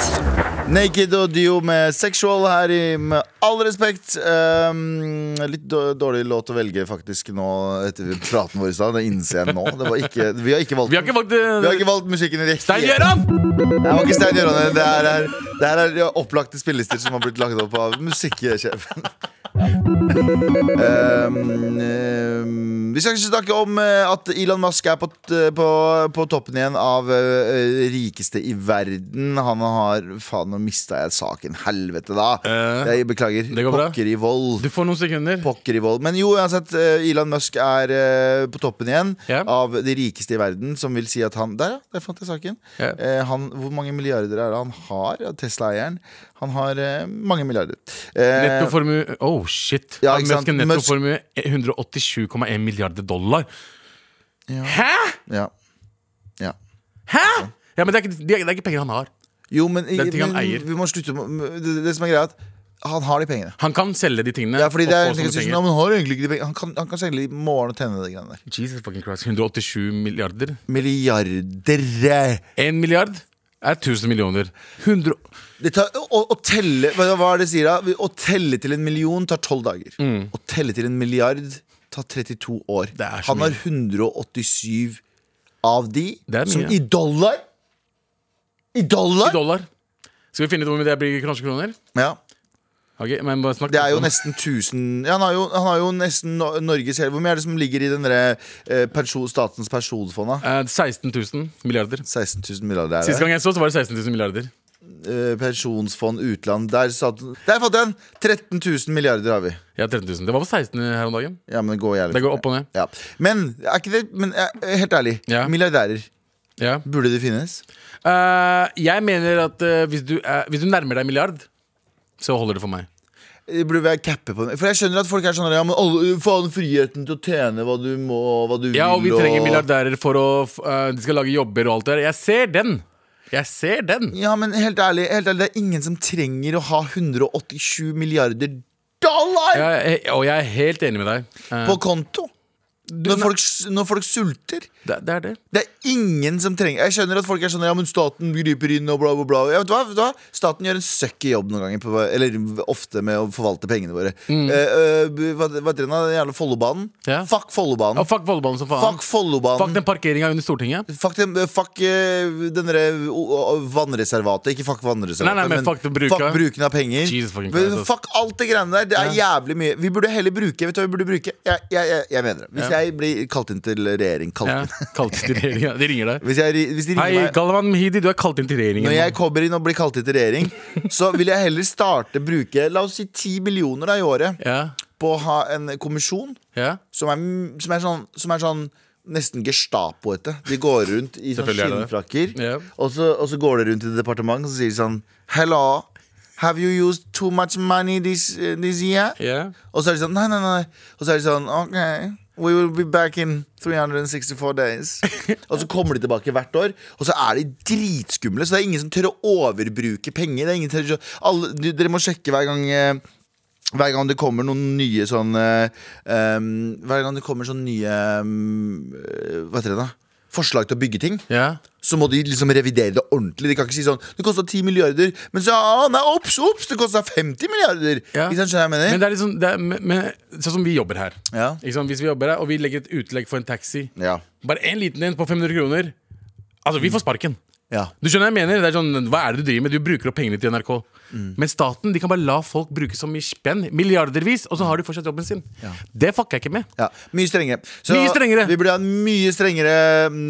Speaker 1: Naked og Dio med Sexual her i Med all respekt. Um, litt dår- dårlig låt å velge faktisk nå etter praten vår i stad. Det innser jeg nå. Det var ikke, vi har ikke valgt
Speaker 2: Vi har ikke valgt
Speaker 1: vi har
Speaker 2: uh,
Speaker 1: ikke valgt musikken riktig.
Speaker 2: Stein Gjøran!
Speaker 1: Det var ikke Stein Gjøran. Det her er, det her er opplagte spillelister som har blitt lagt opp av musikksjefen. Um, um, vi skal ikke snakke om eh, at Elon Musk er på, t- på, på toppen igjen av eh, rikeste i verden. Han har Faen, nå mista jeg saken. Helvete, da.
Speaker 2: Eh,
Speaker 1: Jeg beklager.
Speaker 2: det går bra.
Speaker 1: Pokker i vold.
Speaker 2: Du får noen sekunder.
Speaker 1: Pokker i vold. Men jo, uansett, eh, Elon Musk er eh, på toppen igjen
Speaker 2: Ja.
Speaker 1: av de rikeste i verden, som vil si at han Der, ja! Der fant jeg saken.
Speaker 2: Ja.
Speaker 1: Eh, han, hvor mange milliarder er det han har? Ja, Tesla-eieren. Han har eh, mange milliarder. Eh,
Speaker 2: Nettoformue Oh, shit.
Speaker 1: Ja,
Speaker 2: Ja,
Speaker 1: ikke sant?
Speaker 2: Musk har
Speaker 1: Musk-
Speaker 2: nettoformue 187,1 milliarder dollar. Hæ?!
Speaker 1: ja. ja.
Speaker 2: Hæ?! Ja, men det er, ikke, det er det er ikke penger han har.
Speaker 1: Jo, men,
Speaker 2: er ting han
Speaker 1: men
Speaker 2: eier.
Speaker 1: vi må slutte med- det, det som er greia, er at han har de pengene.
Speaker 2: Han kan selge de tingene.
Speaker 1: Ja, fordi det er,
Speaker 2: og få
Speaker 1: tenker,
Speaker 2: sånne
Speaker 1: sånn,
Speaker 2: penger.
Speaker 1: ja, men han har egentlig ikke de pengene Han kan, han kan selge i morgen og tenne de greiene der.
Speaker 2: Jesus fucking Christ. 187 milliarder.
Speaker 1: Milliarder!
Speaker 2: Én milliard er 1000 millioner. 100
Speaker 1: Det tar, å, å telle hva hva er det de sier da? Å telle til en million tar tolv dager. Å telle til en milliard tar 32 år.
Speaker 2: Mm. Det er så
Speaker 1: Han har 187 av de
Speaker 2: Det er
Speaker 1: som
Speaker 2: mye.
Speaker 1: i dollar I dollar?
Speaker 2: dollar. Skal vi finne ut hvor mye det blir i norske kroner?
Speaker 1: Ja,
Speaker 2: Ok, men bare snakk
Speaker 1: det er jo nesten 1000 ja, han, har jo, han har jo nesten Nor- Norges hele Hvor mye er det som ligger i den derre eh, pensjon, statens pensjonsfond, da?
Speaker 2: Eh, 16 000 milliarder.
Speaker 1: 16 000 milliarder er
Speaker 2: Sist
Speaker 1: det.
Speaker 2: gang jeg så, så var det 16 000 milliarder.
Speaker 1: Eh, pensjonsfond utland. Der, staten, der fant jeg den! 13 000 milliarder har vi.
Speaker 2: Ja, 13 000. Det var på 16 her om dagen.
Speaker 1: Ja, men det går jævlig
Speaker 2: Det går
Speaker 1: fort,
Speaker 2: opp og ned.
Speaker 1: Ja. Men, er ikke det, men eh, helt ærlig,
Speaker 2: Ja.
Speaker 1: milliardærer,
Speaker 2: Ja.
Speaker 1: burde de finnes?
Speaker 2: Eh, jeg mener at eh, hvis, du, er- hvis du nærmer deg en milliard, så holder det for meg.
Speaker 1: Det Eh, burde være cappe på dem. For jeg skjønner at folk er sånn Ja, men alle, faen, friheten til å tjene hva du må, og hva du
Speaker 2: Ja, og vi
Speaker 1: vil
Speaker 2: trenger milliardærer for å f- eh, De skal lage jobber og alt det der. Jeg ser den! Jeg ser den!
Speaker 1: Ja, men helt ærlig, helt ærlig, det er ingen som trenger å ha 187 milliarder dollar
Speaker 2: Jeg, jeg, og jeg er helt enig med deg. Eh,
Speaker 1: på konto! Når
Speaker 2: nei.
Speaker 1: folk, når folk sulter.
Speaker 2: det, det er det.
Speaker 1: Det er ingen som trenger Jeg skjønner at folk er sånn Ja, men staten griper inn og bla, bla, bla. Ja, vet, du hva, vet du hva? Staten gjør en søkk i jobb noen ganger, på, eller ofte, med å forvalte pengene våre. Eh, eh, hva hva heter den da? Den jævla Follobanen?
Speaker 2: Mm. Ja.
Speaker 1: Fuck Follobanen.
Speaker 2: Og fuck volleyballen som faen.
Speaker 1: fuck Follobanen.
Speaker 2: Fuck den parkeringa under Stortinget.
Speaker 1: Fuck, den, eh, fuck eh, den derre o- o- vannreservatet. Ikke fuck vannreservatet,
Speaker 2: Nei, nei, men fuck det bruket.
Speaker 1: fuck bruken av penger.
Speaker 2: Jesus fucking
Speaker 1: Men
Speaker 2: Christ, ass.
Speaker 1: fuck alt det greiene der. Det er jævlig mye. Vi burde heller bruke Vet du hva vi burde bruke? Jeg, jeg, jeg, jeg mener det. Hvis
Speaker 2: Ja.
Speaker 1: jeg blir kalt inn til regjering kalt
Speaker 2: Ja,
Speaker 1: inn.
Speaker 2: kalt inn til regjeringa. De ringer deg.
Speaker 1: Hvis, jeg, ri- hvis de ringer
Speaker 2: Hei,
Speaker 1: meg
Speaker 2: Galvan Mehidi, du er kalt inn til regjeringen.
Speaker 1: Når jeg kommer inn og blir kalt inn til regjering, så vil jeg heller starte bruke la oss si 10 millioner da i året
Speaker 2: Ja,
Speaker 1: på å ha en kommisjon
Speaker 2: ja.
Speaker 1: som er, som er, sånn, som er sånn Nesten Gestapoete. De går rundt i sånn
Speaker 2: Selvfølgelig er
Speaker 1: skinnfrakker,
Speaker 2: Ja.
Speaker 1: og, så, og så går de rundt i departementet og så sier de sånn Hello, have you used too much money this, eh, this year?
Speaker 2: ja.
Speaker 1: Og så er de sånn Nei, nei, nei. Og så er de sånn OK. We will be back in 364 days. Og så kommer de tilbake hvert år, og så er de dritskumle. Så det er ingen som tør å overbruke penger. Det er ingen som tør å, alle, du- dere må sjekke hver gang eh, hver gang det kommer noen nye sånn eh, em, Hver gang det kommer sånn nye em, eh, Hva heter det, da? Forslag til å bygge ting
Speaker 2: ja.
Speaker 1: så må de liksom revidere det ordentlig. De kan ikke si sånn Det kosta 10 milliarder, men så ah, Nei, ops, ops! Det kosta 50 milliarder!
Speaker 2: Ja.
Speaker 1: Ikke sant, skjønner du hva jeg
Speaker 2: Men
Speaker 1: mener?
Speaker 2: det er liksom det er, men, men, Sånn som vi jobber her.
Speaker 1: Ja.
Speaker 2: Ikke sant? Hvis vi jobber her, og vi legger et utlegg for en taxi,
Speaker 1: Ja.
Speaker 2: bare en liten en på 500 kroner Altså, vi får sparken.
Speaker 1: ja.
Speaker 2: Du skjønner hva jeg mener? Det er sånn, Hva er det du driver med? Du bruker opp pengene til NRK.
Speaker 1: Mm.
Speaker 2: Men staten de kan bare la folk bruke så mye spenn, milliardervis, og så har de fortsatt jobben sin. Det fucker jeg ikke med.
Speaker 1: Ja, Mye strengere. Så
Speaker 2: Mye strengere!
Speaker 1: Vi burde ha mye strengere mm,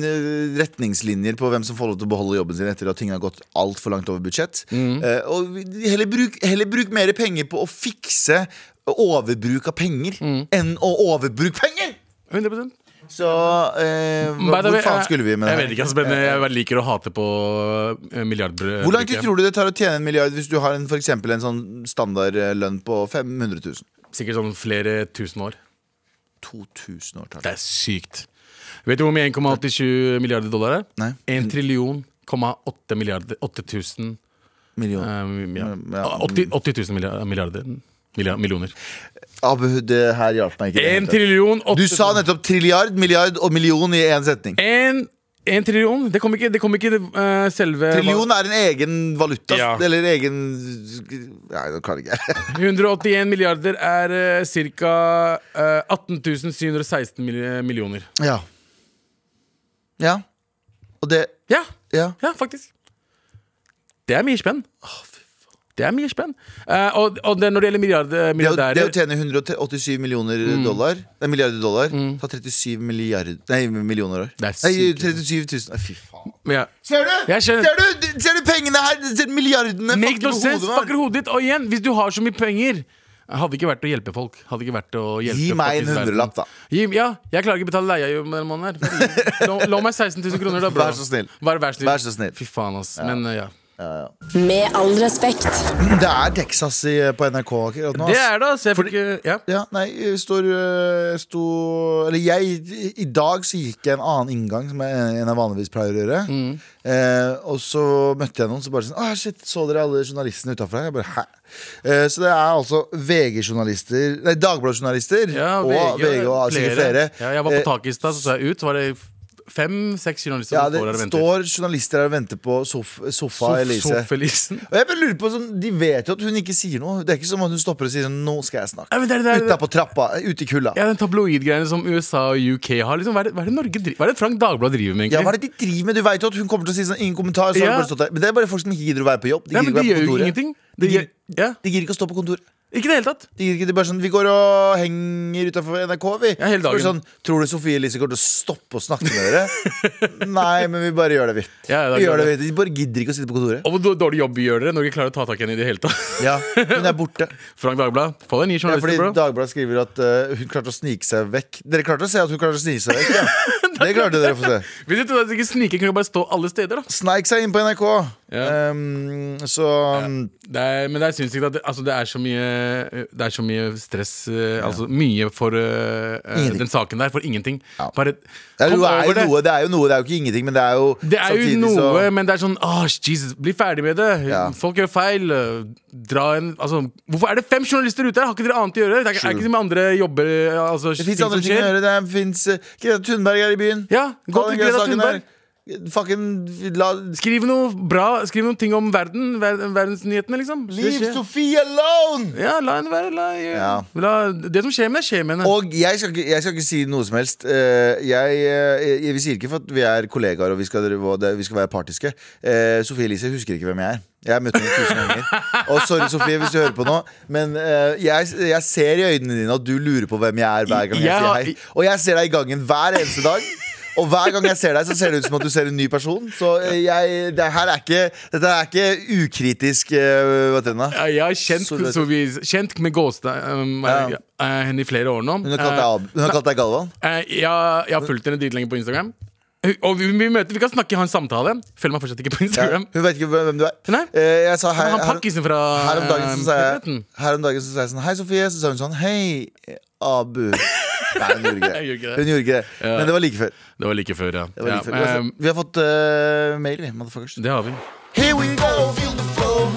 Speaker 1: retningslinjer på hvem som får lov til å beholde jobben sin etter at ting har gått altfor langt over budsjett.
Speaker 2: Mm.
Speaker 1: Eh, og vi- heller bruk, heller bruk mer penger på å fikse overbruk av penger
Speaker 2: Mm.
Speaker 1: enn å overbruke penger!
Speaker 2: 100
Speaker 1: Så eh, hva,
Speaker 2: Mm. By the
Speaker 1: hvor
Speaker 2: way,
Speaker 1: faen
Speaker 2: jeg-
Speaker 1: skulle vi med det?
Speaker 2: Jeg
Speaker 1: her?
Speaker 2: vet ikke, ass, men eh, jeg bare liker å hate på eh, milliardbrød.
Speaker 1: Hvor lang tid tror du det tar å tjene en milliard hvis du har en, for eksempel en sånn standardlønn på 500 000?
Speaker 2: Sikkert sånn flere tusen år.
Speaker 1: 2000 år tar det.
Speaker 2: Det er sykt. Vet du hvor mye 1,87 milliarder dollar er?
Speaker 1: Nei.
Speaker 2: 1 trillion, 8 milliarder ehm, 8000
Speaker 1: Million. Mm, Ja.
Speaker 2: 80 000 milliarder, Milliard- millioner.
Speaker 1: Abu, det her hjalp meg ikke. i det hele
Speaker 2: 1
Speaker 1: tatt.
Speaker 2: trillion
Speaker 1: Du
Speaker 2: 8000
Speaker 1: sa nettopp trilliard, milliard og million i én setning.
Speaker 2: En, en trillion? Det kom ikke, det kom ikke eh, selve
Speaker 1: Trillion er en egen valuta.
Speaker 2: Ja.
Speaker 1: Eller egen Nei, det kan jeg ikke.
Speaker 2: 181 milliarder er eh, uh, ca. 18 716 mil- millioner.
Speaker 1: ja. ja. Og det
Speaker 2: Ja,
Speaker 1: Ja.
Speaker 2: ja, faktisk. Det er mye spenn. Det er mye spenn. Eh, og og det, når det gjelder milliard,
Speaker 1: Det å, det å
Speaker 2: milliardærer Mm.
Speaker 1: tjene 187 millioner dollar Nei, milliarder dollar tar 37 milliard, nei, millioner år.
Speaker 2: Det er
Speaker 1: nei,
Speaker 2: sykt.
Speaker 1: 37 000 Nei, Fy faen.
Speaker 2: ja.
Speaker 1: Ser du?
Speaker 2: Jeg skjønner.
Speaker 1: Ser du? Ser du pengene her? Ser du milliardene?
Speaker 2: Make
Speaker 1: Fuck
Speaker 2: no
Speaker 1: på
Speaker 2: sense!
Speaker 1: hodet, man.
Speaker 2: Fucker hodet ditt. Og igjen, hvis du har så mye penger Hadde ikke vært å hjelpe folk. Hadde ikke vært å hjelpe
Speaker 1: Gi meg
Speaker 2: folk i
Speaker 1: en
Speaker 2: verden.
Speaker 1: hundrelapp, da.
Speaker 2: Gi, ja, jeg klarer ikke å betale leia i denne måneden. her La, la meg 16 000 kroner, da. Bro.
Speaker 1: Vær så snill.
Speaker 2: Vær, vær, så snill.
Speaker 1: Vær så snill.
Speaker 2: Fy faen, ass. Men eh, ja.
Speaker 4: Med all respekt.
Speaker 1: Det er Texas i, på NRK akkurat nå. ass.
Speaker 2: Det er det, ass. Jeg fikk eh, ja.
Speaker 1: Ja, nei, jeg står, øh, sto Eller jeg I dag så gikk jeg en annen inngang Som jeg, en jeg vanligvis pleier å gjøre
Speaker 2: Mm.
Speaker 1: eh, Og så møtte jeg noen som bare sånn Åh, shit, så dere alle journalistene utenfor her? Jeg bare, hæ? Eh, så det er altså VG-journalister Nei, Dagbladjournalister
Speaker 2: ja
Speaker 1: Og VG og sikkert flere
Speaker 2: Ja, jeg var
Speaker 1: Eh,
Speaker 2: på taket i stad, så så jeg ut. Så var det fem-seks journalister
Speaker 1: ja,
Speaker 2: som
Speaker 1: det
Speaker 2: står der og venter.
Speaker 1: står journalister her og venter på sof sofa
Speaker 2: Sof-
Speaker 1: Elise
Speaker 2: Sofelisen.
Speaker 1: Og jeg bare lurer på sånn, De vet jo at hun ikke sier noe Det er ikke som at hun stopper og sier sånn, Nå skal jeg snakke
Speaker 2: Ja, men det er- det er-
Speaker 1: Ute på trappa, ute i kulda
Speaker 2: Ja, den tabloidgreiene som USA og UK har. Liksom, hva, er det, hva er det Norge driver Hva er det Frank Dagblad driver med,
Speaker 1: Ja, hva
Speaker 2: egentlig?
Speaker 1: er det de driver med? Du vet jo at hun kommer til å si sånn, ingen kommentar. Så har
Speaker 2: Ja.
Speaker 1: hun bare stått der. Men det er bare folk som ikke gidder å være på jobb. De
Speaker 2: Nei,
Speaker 1: gidder
Speaker 2: men
Speaker 1: ikke
Speaker 2: de
Speaker 1: å være
Speaker 2: gjør
Speaker 1: på
Speaker 2: jo
Speaker 1: kontoret.
Speaker 2: ingenting. De
Speaker 1: gir-
Speaker 2: gjør, ja.
Speaker 1: De gidder ikke å stå på kontor.
Speaker 2: Ikke i det hele tatt.
Speaker 1: De gidder ikke, de bare sånn, Vi går og henger utenfor NRK, vi.
Speaker 2: Ja, hele
Speaker 1: Så bare
Speaker 2: dagen.
Speaker 1: Sånn, Tror du Sofie Elise kommer til å stoppe å snakke med dere? Nei, men vi bare gjør det, vi.
Speaker 2: Ja, ja, da
Speaker 1: vi gjør
Speaker 2: gjør
Speaker 1: det, vi. De bare gidder ikke å sitte på kontoret.
Speaker 2: Og hvor dårlig jobb vi gjør dere når vi klarer å ta tak i henne i det hele tatt.
Speaker 1: Ja, Hun er borte.
Speaker 2: Frank Dagblad, få deg en ny
Speaker 1: Ja, fordi
Speaker 2: journalist, bro.
Speaker 1: Dagbladet skriver at eh, hun klarte å snike seg vekk. Dere klarte å se at hun klarte å snike seg vekk? Ja. Det klarte dere å få se.
Speaker 2: Hvis du tror at du ikke sniker, kan du bare stå alle steder, da.
Speaker 1: Sneik seg inn på NRK.
Speaker 2: Ja.
Speaker 1: Um, så
Speaker 2: Det er, men det er sinnssykt at det, altså, det, er så mye, det er så mye stress eh, Altså mye for eh, eh,
Speaker 1: Ingenting.
Speaker 2: den saken der, for ingenting. Bare
Speaker 1: Det er, jo,
Speaker 2: kom
Speaker 1: er jo
Speaker 2: over det.
Speaker 1: noe, det er jo noe, det er jo ikke ingenting, men det er jo
Speaker 2: Det er jo
Speaker 1: samtidig
Speaker 2: noe,
Speaker 1: så-
Speaker 2: men det er sånn Åh, Jesus, bli ferdig med det.
Speaker 1: Ja.
Speaker 2: Folk gjør feil. øh, Dra en Altså, hvorfor er det fem journalister ute her? Har ikke dere annet å gjøre? Det er, ikke- er ikke som andre jobber øh, altså,
Speaker 1: Det fins andre ting å gjøre. Det er- fins eh, Greta Thunberg er i byen.
Speaker 2: Ja, gå
Speaker 1: Ta den
Speaker 2: til Greta
Speaker 1: saken der.
Speaker 2: Thunberg.
Speaker 1: Fucking la
Speaker 2: Skriv noe bra, skriv noen ting om verden. Ver, verdensnyhetene, liksom. Det
Speaker 1: Leave
Speaker 2: skjer.
Speaker 1: Sophie alone!
Speaker 2: Ja, la henne være. La,
Speaker 1: Ja.
Speaker 2: la, det som skjer med henne, skjer med henne.
Speaker 1: Og jeg skal, ikke, jeg skal ikke si noe som helst. Eh, Jeg, eh, jeg, vi sier ikke for at vi er kollegaer og vi skal, drive- og det- vi skal være partiske. Eh, Sofie Elise husker ikke hvem jeg er. Jeg har møtt henne tusen ganger. Og sorry, Sofie, hvis du hører på nå, men eh, jeg, jeg ser i øynene dine at du lurer på hvem jeg er hver gang jeg
Speaker 2: Jeg
Speaker 1: sier
Speaker 2: har-
Speaker 1: hei. Og jeg ser deg i gangen hver eneste dag. Og hver gang jeg ser deg, så ser det ut som at du ser en ny person. Så eh, jeg, det her er ikke, dette er ikke ukritisk. eh, Hva heter den da?
Speaker 2: Ja, jeg har kjent,
Speaker 1: Så vet-
Speaker 2: Sofie- kjent med gåstegn um,
Speaker 1: Ja.
Speaker 2: eh, henne i flere år nå.
Speaker 1: Hun har kalt deg, Ab- hun har kalt deg Galvan.
Speaker 2: Eh, jeg, jeg har fulgt henne dritlenge på Instagram. Og vi, vi, møter, vi kan snakke, ha en samtale. Følger meg fortsatt ikke på
Speaker 1: Ja,
Speaker 2: Instagram.
Speaker 1: hun vet ikke hvem du er.
Speaker 2: Nei.
Speaker 1: Eh, Jeg sa hei,
Speaker 2: Men han
Speaker 1: her-
Speaker 2: pakkisen fra
Speaker 1: Her om dagen så sa jeg,
Speaker 2: Petreten.
Speaker 1: her om dagen så sa jeg sånn Hei, Sofie. Så sa hun sånn Hei, Abu. Nei, hun gjorde ikke
Speaker 2: Jeg gjorde ikke
Speaker 1: det.
Speaker 2: det.
Speaker 1: Hun gjorde ikke det. Men det var like før.
Speaker 2: Det var like før, ja.
Speaker 1: Det var
Speaker 2: ja
Speaker 1: like før. Vi, har,
Speaker 2: ehm,
Speaker 1: fått- vi har fått eh, mail, vi, motherfuckers.
Speaker 2: det har vi.
Speaker 1: Here we go, feel the flow,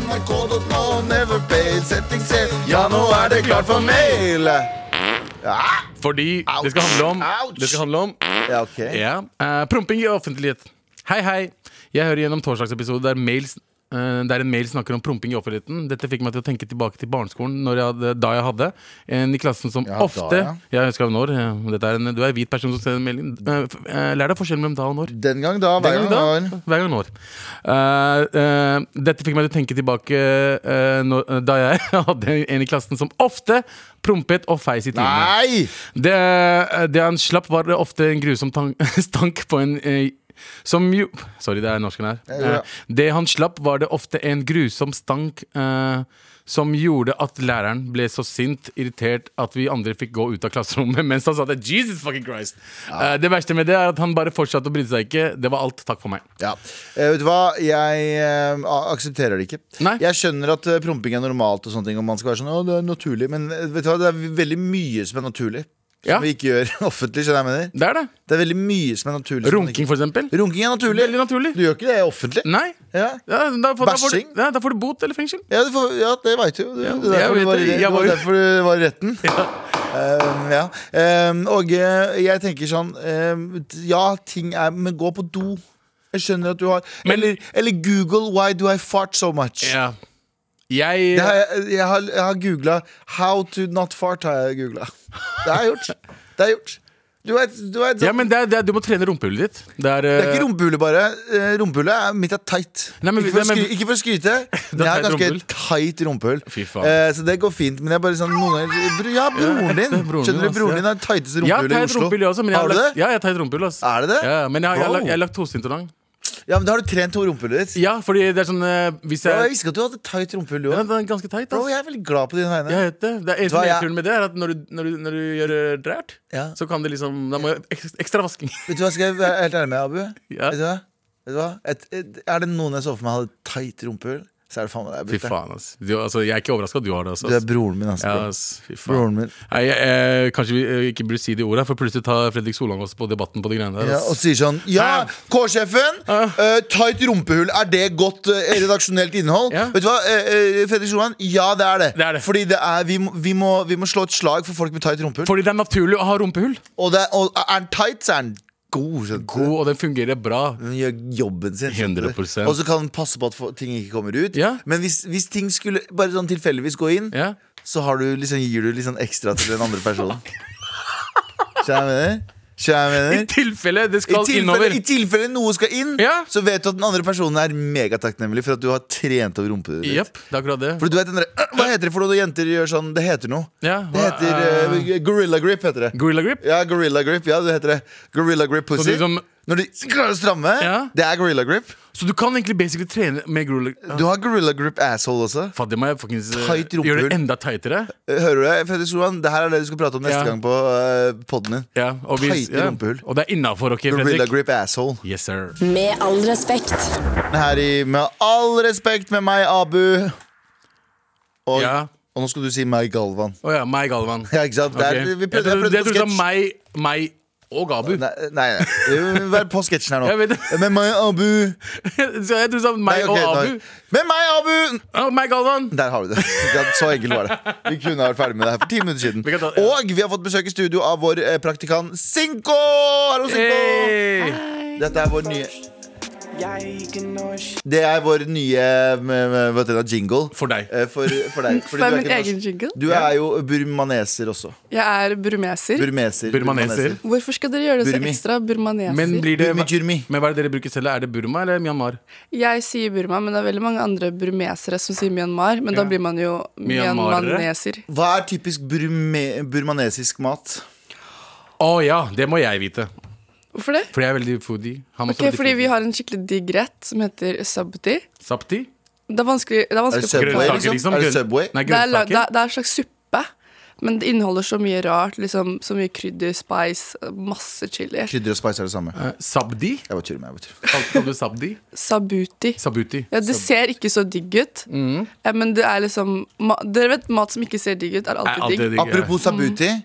Speaker 1: maratnrk.no, never pay, setting set. Ja, nå er det klart for mail! Ja,
Speaker 2: Fordi
Speaker 1: Ouch.
Speaker 2: det skal handle om
Speaker 1: Ouch.
Speaker 2: Det skal handle om
Speaker 1: ja ok.
Speaker 2: ja, eh, Promping i offentlighet. Hei, hei. Jeg hører gjennom torsdagsepisode der mails eh, der en mail snakker om promping i offentligheten. Dette fikk meg til å tenke tilbake til barneskolen når jeg hadde, da jeg hadde en i klassen som
Speaker 1: Ja, da,
Speaker 2: ofte
Speaker 1: ja.
Speaker 2: Jeg husker når. eh, Dette er en, du er en hvit person som sender melding. Eh, f- eh, lær deg forskjellen mellom da og når.
Speaker 1: Den gang da, hver
Speaker 2: Den
Speaker 1: gang
Speaker 2: gang
Speaker 1: da.
Speaker 2: da, hver gang nå. Eh, eh, dette fikk meg til å tenke tilbake eh, når, da jeg hadde en i klassen som ofte prompet og feis i timene.
Speaker 1: Nei!
Speaker 2: Det, det han slapp, var ofte en grusom tan- stank på en eh, som jo Sorry, det er norsken her.
Speaker 1: Ja, ja.
Speaker 2: Eh, Det han slapp, var det ofte en grusom stank eh, som gjorde at læreren ble så sint, irritert, at vi andre fikk gå ut av klasserommet mens han sa det. Jesus fucking Christ! Eh, det verste med det er at han bare fortsatte å bry seg ikke. Det var alt. Takk for meg.
Speaker 1: Ja. Eh, vet du hva, jeg eh, a- aksepterer det ikke.
Speaker 2: Nei.
Speaker 1: Jeg skjønner at eh, promping er normalt, og sånne ting Og man skal være sånn, å det er naturlig men eh, vet du hva, det er veldig mye som er naturlig.
Speaker 2: Ja.
Speaker 1: Som vi ikke gjør offentlig. skjønner du hva jeg mener
Speaker 2: Det er det.
Speaker 1: Det er veldig mye som er naturlig. som man
Speaker 2: Runking,
Speaker 1: ikke-
Speaker 2: for eksempel.
Speaker 1: Runking er naturlig.
Speaker 2: Veldig naturlig.
Speaker 1: Du gjør ikke det offentlig.
Speaker 2: Nei.
Speaker 1: Ja.
Speaker 2: Ja, da, får, da, får,
Speaker 1: Bæsjing?
Speaker 2: du- ja, da får du bot eller fengsel.
Speaker 1: Ja, du får, ja, det veit du. jo. Du-
Speaker 2: Ja,
Speaker 1: Det er derfor
Speaker 2: jeg
Speaker 1: du var,
Speaker 2: vet
Speaker 1: i-
Speaker 2: det.
Speaker 1: det
Speaker 2: Jeg
Speaker 1: var
Speaker 2: var jo-
Speaker 1: derfor du var i retten. Um, ja. Um, og eh, jeg tenker sånn um, Ja, ting er Men gå på do. Jeg skjønner at du har
Speaker 2: Men-
Speaker 1: eller, eller Google 'Why do I fart so much'?
Speaker 2: Ja. Jeg
Speaker 1: Det har jeg, jeg har, jeg har googla 'How to not fart'. har jeg googlet. Det har jeg gjort. Det har jeg gjort. Du vet, du vet
Speaker 2: Ja, men det er, det er, du må trene rumpehullet ditt. Det er,
Speaker 1: Det er ikke rumpehullet bare. Eh, Rumpehullet er- mitt er tight.
Speaker 2: Nei, men-
Speaker 1: ikke, for å
Speaker 2: nei, men-
Speaker 1: skry, ikke for å skryte, men jeg
Speaker 2: har
Speaker 1: har
Speaker 2: tight
Speaker 1: ganske
Speaker 2: rumpehull.
Speaker 1: tight rumpehull.
Speaker 2: Fy faen.
Speaker 1: Eh, så det går fint. Men jeg bare sånn noen ganger bro- Ja, broren
Speaker 2: ekte
Speaker 1: din.
Speaker 2: broren
Speaker 1: Skjønner du,
Speaker 2: din, ass,
Speaker 1: broren
Speaker 2: ja.
Speaker 1: din er det tighteste
Speaker 2: Jeg har
Speaker 1: rumpehullet i
Speaker 2: teit
Speaker 1: Oslo.
Speaker 2: rumpehull, jeg også. Men jeg
Speaker 1: har du
Speaker 2: lagt-
Speaker 1: det?
Speaker 2: Ja, jeg har teit rumpehull. ass.
Speaker 1: Er det det?
Speaker 2: altså. Ja, men jeg, har- jeg, har
Speaker 1: Wow.
Speaker 2: lagt- jeg er laktoseintolerant.
Speaker 1: Ja, men da har du trent to rumpehullet ditt.
Speaker 2: Ja, fordi det er sånn eh, Hvis
Speaker 1: Bro, jeg
Speaker 2: jeg
Speaker 1: visste ikke at du hadde tight rumpehull, du
Speaker 2: ja,
Speaker 1: òg.
Speaker 2: Den er ganske teit, ass.
Speaker 1: Bro, jeg er veldig glad på dine vegne.
Speaker 2: Jeg vet det. Det er
Speaker 1: Hva,
Speaker 2: eneste
Speaker 1: jeg-
Speaker 2: nedturen med det er at når du, når du, når du gjør eh, drært,
Speaker 1: Ja.
Speaker 2: så kan det liksom Da må jeg ek- ekstra vasking.
Speaker 1: Vet du hva, skal jeg være helt ærlig med deg, Abu?
Speaker 2: Ja.
Speaker 1: Vet du hva? Vet du hva? Et, et, er det noen jeg så for meg hadde tight rumpehull, så er det faen meg deg.
Speaker 2: Fy
Speaker 1: Birte.
Speaker 2: faen, ass. Du, altså, jeg er ikke overraska at du har det også.
Speaker 1: Du er
Speaker 2: Ass.
Speaker 1: broren min, altså.
Speaker 2: Ja,
Speaker 1: bro.
Speaker 2: ass. Fy faen.
Speaker 1: Broren min.
Speaker 2: Nei, jeg, eh, kanskje vi eh, ikke burde si de orda, for plutselig tar Fredrik Solang oss på debatten på de greiene der.
Speaker 1: Ja, og
Speaker 2: ass.
Speaker 1: sier sånn Ja,
Speaker 2: Hæ?
Speaker 1: K-sjefen! eh, tight rumpehull, er det godt eh, redaksjonelt innhold?
Speaker 2: Ja.
Speaker 1: Vet du hva, eh, eh, Fredrik Solheim? Ja, det er det.
Speaker 2: Det er det.
Speaker 1: Fordi det er, vi, må- vi, må, vi må slå et slag for folk med tight rumpehull.
Speaker 2: Fordi det er naturlig å ha rumpehull.
Speaker 1: Og, det, er- og er den tight, så er den god. skjønner du.
Speaker 2: God, og den fungerer bra.
Speaker 1: Den gjør jobben sin. skjønner du.
Speaker 2: 100%.
Speaker 1: Og så kan den passe på at fo- ting ikke kommer ut.
Speaker 2: Ja.
Speaker 1: Men hvis, hvis ting skulle bare sånn tilfeldigvis gå inn,
Speaker 2: Ja.
Speaker 1: så har du liksom, gir du litt sånn ekstra til den andre personen. Skjønner du hva jeg mener? Skjønner du hva jeg
Speaker 2: I
Speaker 1: mener?
Speaker 2: tilfelle det
Speaker 1: Eh, I
Speaker 2: skal
Speaker 1: tilfelle,
Speaker 2: innover.
Speaker 1: I tilfelle noe skal inn,
Speaker 2: Ja.
Speaker 1: så vet du at den andre personen er megatakknemlig for at du har trent over rumpehullet ditt.
Speaker 2: Jepp, det er akkurat det.
Speaker 1: For du vet den der, «Øh, Hva heter det for noe jenter gjør sånn? Det heter noe.
Speaker 2: Ja,
Speaker 1: Det
Speaker 2: hva
Speaker 1: heter
Speaker 2: er-
Speaker 1: eh, Gorilla grip. heter det
Speaker 2: Gorilla grip?
Speaker 1: Ja, gorilla grip. Ja, det heter det. Gorilla grip
Speaker 2: Så
Speaker 1: pussy.
Speaker 2: det er som-
Speaker 1: Når de klarer å stramme,
Speaker 2: Ja.
Speaker 1: det er gorilla grip.
Speaker 2: Så du kan egentlig basically trene med gorilla grip?
Speaker 1: Du har gorilla grip asshole også.
Speaker 2: Fader, må jeg fuckings eh,
Speaker 1: Eh, Tight rumpehull.
Speaker 2: gjøre det enda tightere?
Speaker 1: Eh, Hører du det? Fredrik Solvang, det her er det du skal prate om neste
Speaker 2: Ja.
Speaker 1: gang på uh, poden din.
Speaker 2: Ja, og hvis-
Speaker 1: Tighte rumpehull.
Speaker 2: Og det er innafor, OK,
Speaker 1: Gorilla
Speaker 2: Fredrik?
Speaker 1: grip asshole.
Speaker 2: Yes, sir.
Speaker 4: Med all respekt.
Speaker 1: Her i Med all respekt med meg, Abu. Og,
Speaker 2: Ja.
Speaker 1: og nå skal du si meg, Galvan.
Speaker 2: Å ja, meg, Galvan.
Speaker 1: Ja, ikke sant? Det er-
Speaker 2: Ok.
Speaker 1: vi prøvde-
Speaker 2: jeg
Speaker 1: jeg prøvde
Speaker 2: trodde, jeg
Speaker 1: på
Speaker 2: trodde du
Speaker 1: sketsj.
Speaker 2: sa meg, meg og Gabu.
Speaker 1: Nei, nei, nei. Vi må være på sketsjen her nå. Eh,
Speaker 2: Jeg vet det.
Speaker 1: Med meg, Abu.
Speaker 2: Så jeg trodde du sa meg
Speaker 1: Nei, ok,
Speaker 2: og
Speaker 1: nå-
Speaker 2: Abu.
Speaker 1: Med meg, Abu!
Speaker 2: Å, meg, Galvan!
Speaker 1: Der har du det. Ikke sant? Så enkelt var det. Vi kunne vært ferdig med det her for ti minutter siden.
Speaker 2: Vi kan ta- ja.
Speaker 1: Og vi har fått besøk i studio av vår eh, praktikant Sinko! Hallo, Sinko!
Speaker 2: Hey!
Speaker 1: Dette er vår nye
Speaker 5: Jeg ikke norsk
Speaker 1: Det er vår nye mm, m- m- vet du, det, jingle.
Speaker 2: For deg.
Speaker 1: Eh, For, for deg. Fordi du
Speaker 6: Det er
Speaker 1: er
Speaker 6: min
Speaker 1: ikke
Speaker 6: egen
Speaker 1: norsk.
Speaker 6: jingle.
Speaker 1: Du er jo burmaneser også.
Speaker 6: Jeg er burmeser.
Speaker 1: Burmeser.
Speaker 2: Burmaneser.
Speaker 6: Hvorfor skal dere gjøre det så
Speaker 1: Burmi.
Speaker 6: ekstra burmaneser?
Speaker 2: Men blir det
Speaker 1: Burmi, Jurmi.
Speaker 2: Men hva er det dere bruker selv? Er det Burma eller Myanmar?
Speaker 6: Jeg sier Burma, men det er veldig mange andre burmesere som sier Myanmar. Men da blir man jo
Speaker 2: Myanmarere?
Speaker 6: myanmaneser.
Speaker 1: Hva er typisk burme, burmanesisk mat?
Speaker 2: Å ja, det må jeg vite.
Speaker 6: Hvorfor det?
Speaker 2: For jeg er veldig foodie. Han er også
Speaker 6: Ok,
Speaker 2: veldig
Speaker 6: Fordi vi
Speaker 2: foodie.
Speaker 6: har en skikkelig digg rett som heter sabti.
Speaker 2: Sapti?
Speaker 6: Det er vanskelig, det
Speaker 1: Er
Speaker 6: er
Speaker 1: det
Speaker 6: vanskelig å
Speaker 1: Subway,
Speaker 6: forklare.
Speaker 1: liksom?
Speaker 2: Grønnsaker, liksom?
Speaker 1: Er det
Speaker 2: Grønn-
Speaker 1: Subway?
Speaker 2: Nei,
Speaker 6: Det er, la- det,
Speaker 2: grønnsaker.
Speaker 6: er, det er en slags suppe, men det inneholder så mye rart. Liksom, så mye krydder, spice, masse chili.
Speaker 1: Krydder og spice er det samme.
Speaker 2: Eh, Sabdi?
Speaker 1: Jeg bare tuller med jeg bare tuller.
Speaker 2: Kaller du Sabdi?
Speaker 6: Sabuti.
Speaker 2: Sabuti.
Speaker 6: Ja, Det ser ikke så digg ut, eh, men det er liksom ma Dere vet mat som ikke ser digg ut, er alltid digg.
Speaker 2: Alltid digg.
Speaker 1: Apropos Sabuti. eh,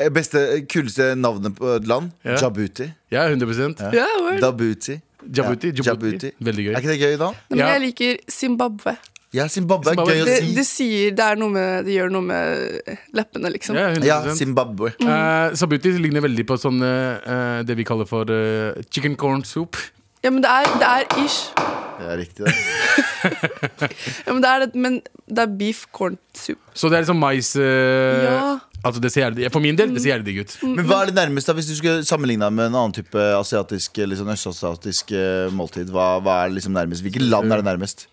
Speaker 1: Beste, kuleste navnet på et land.
Speaker 2: Ja.
Speaker 1: Djibouti.
Speaker 2: Ja, 100
Speaker 6: Ja, word.
Speaker 1: Dabuti.
Speaker 2: Djibouti,
Speaker 1: Ja,
Speaker 2: Djibouti. Veldig gøy.
Speaker 1: Er ikke det gøy, da?
Speaker 6: Nei, Men
Speaker 2: Ja.
Speaker 6: jeg liker Zimbabwe.
Speaker 1: Ja, Zimbabwe er
Speaker 2: Zimbabwe.
Speaker 1: gøy å
Speaker 6: Det,
Speaker 1: si.
Speaker 6: det sier Det er noe med Det gjør noe med leppene, liksom.
Speaker 2: Ja, 100
Speaker 1: sånn? Ja, Zimbabwe.
Speaker 6: Mm.
Speaker 2: Eh, Sabuti ligner veldig på sånn eh, eh, det vi kaller for eh, chicken corn soup.
Speaker 6: Ja, men det er, det er ish.
Speaker 1: Det er riktig, det.
Speaker 6: Ja, men, det er, det- men det er beef corn soup.
Speaker 2: Så det er liksom mais eh,
Speaker 6: Ja. Mm.
Speaker 2: Altså det ser jævlig, For min del, det ser jævlig digg ut.
Speaker 1: Men hva er det nærmeste, hvis du skulle sammenligne med en annen type asiatisk, eller sånn østasiatisk eh, måltid? Hva, hva er det liksom nærmest? Hvilket land er det nærmest?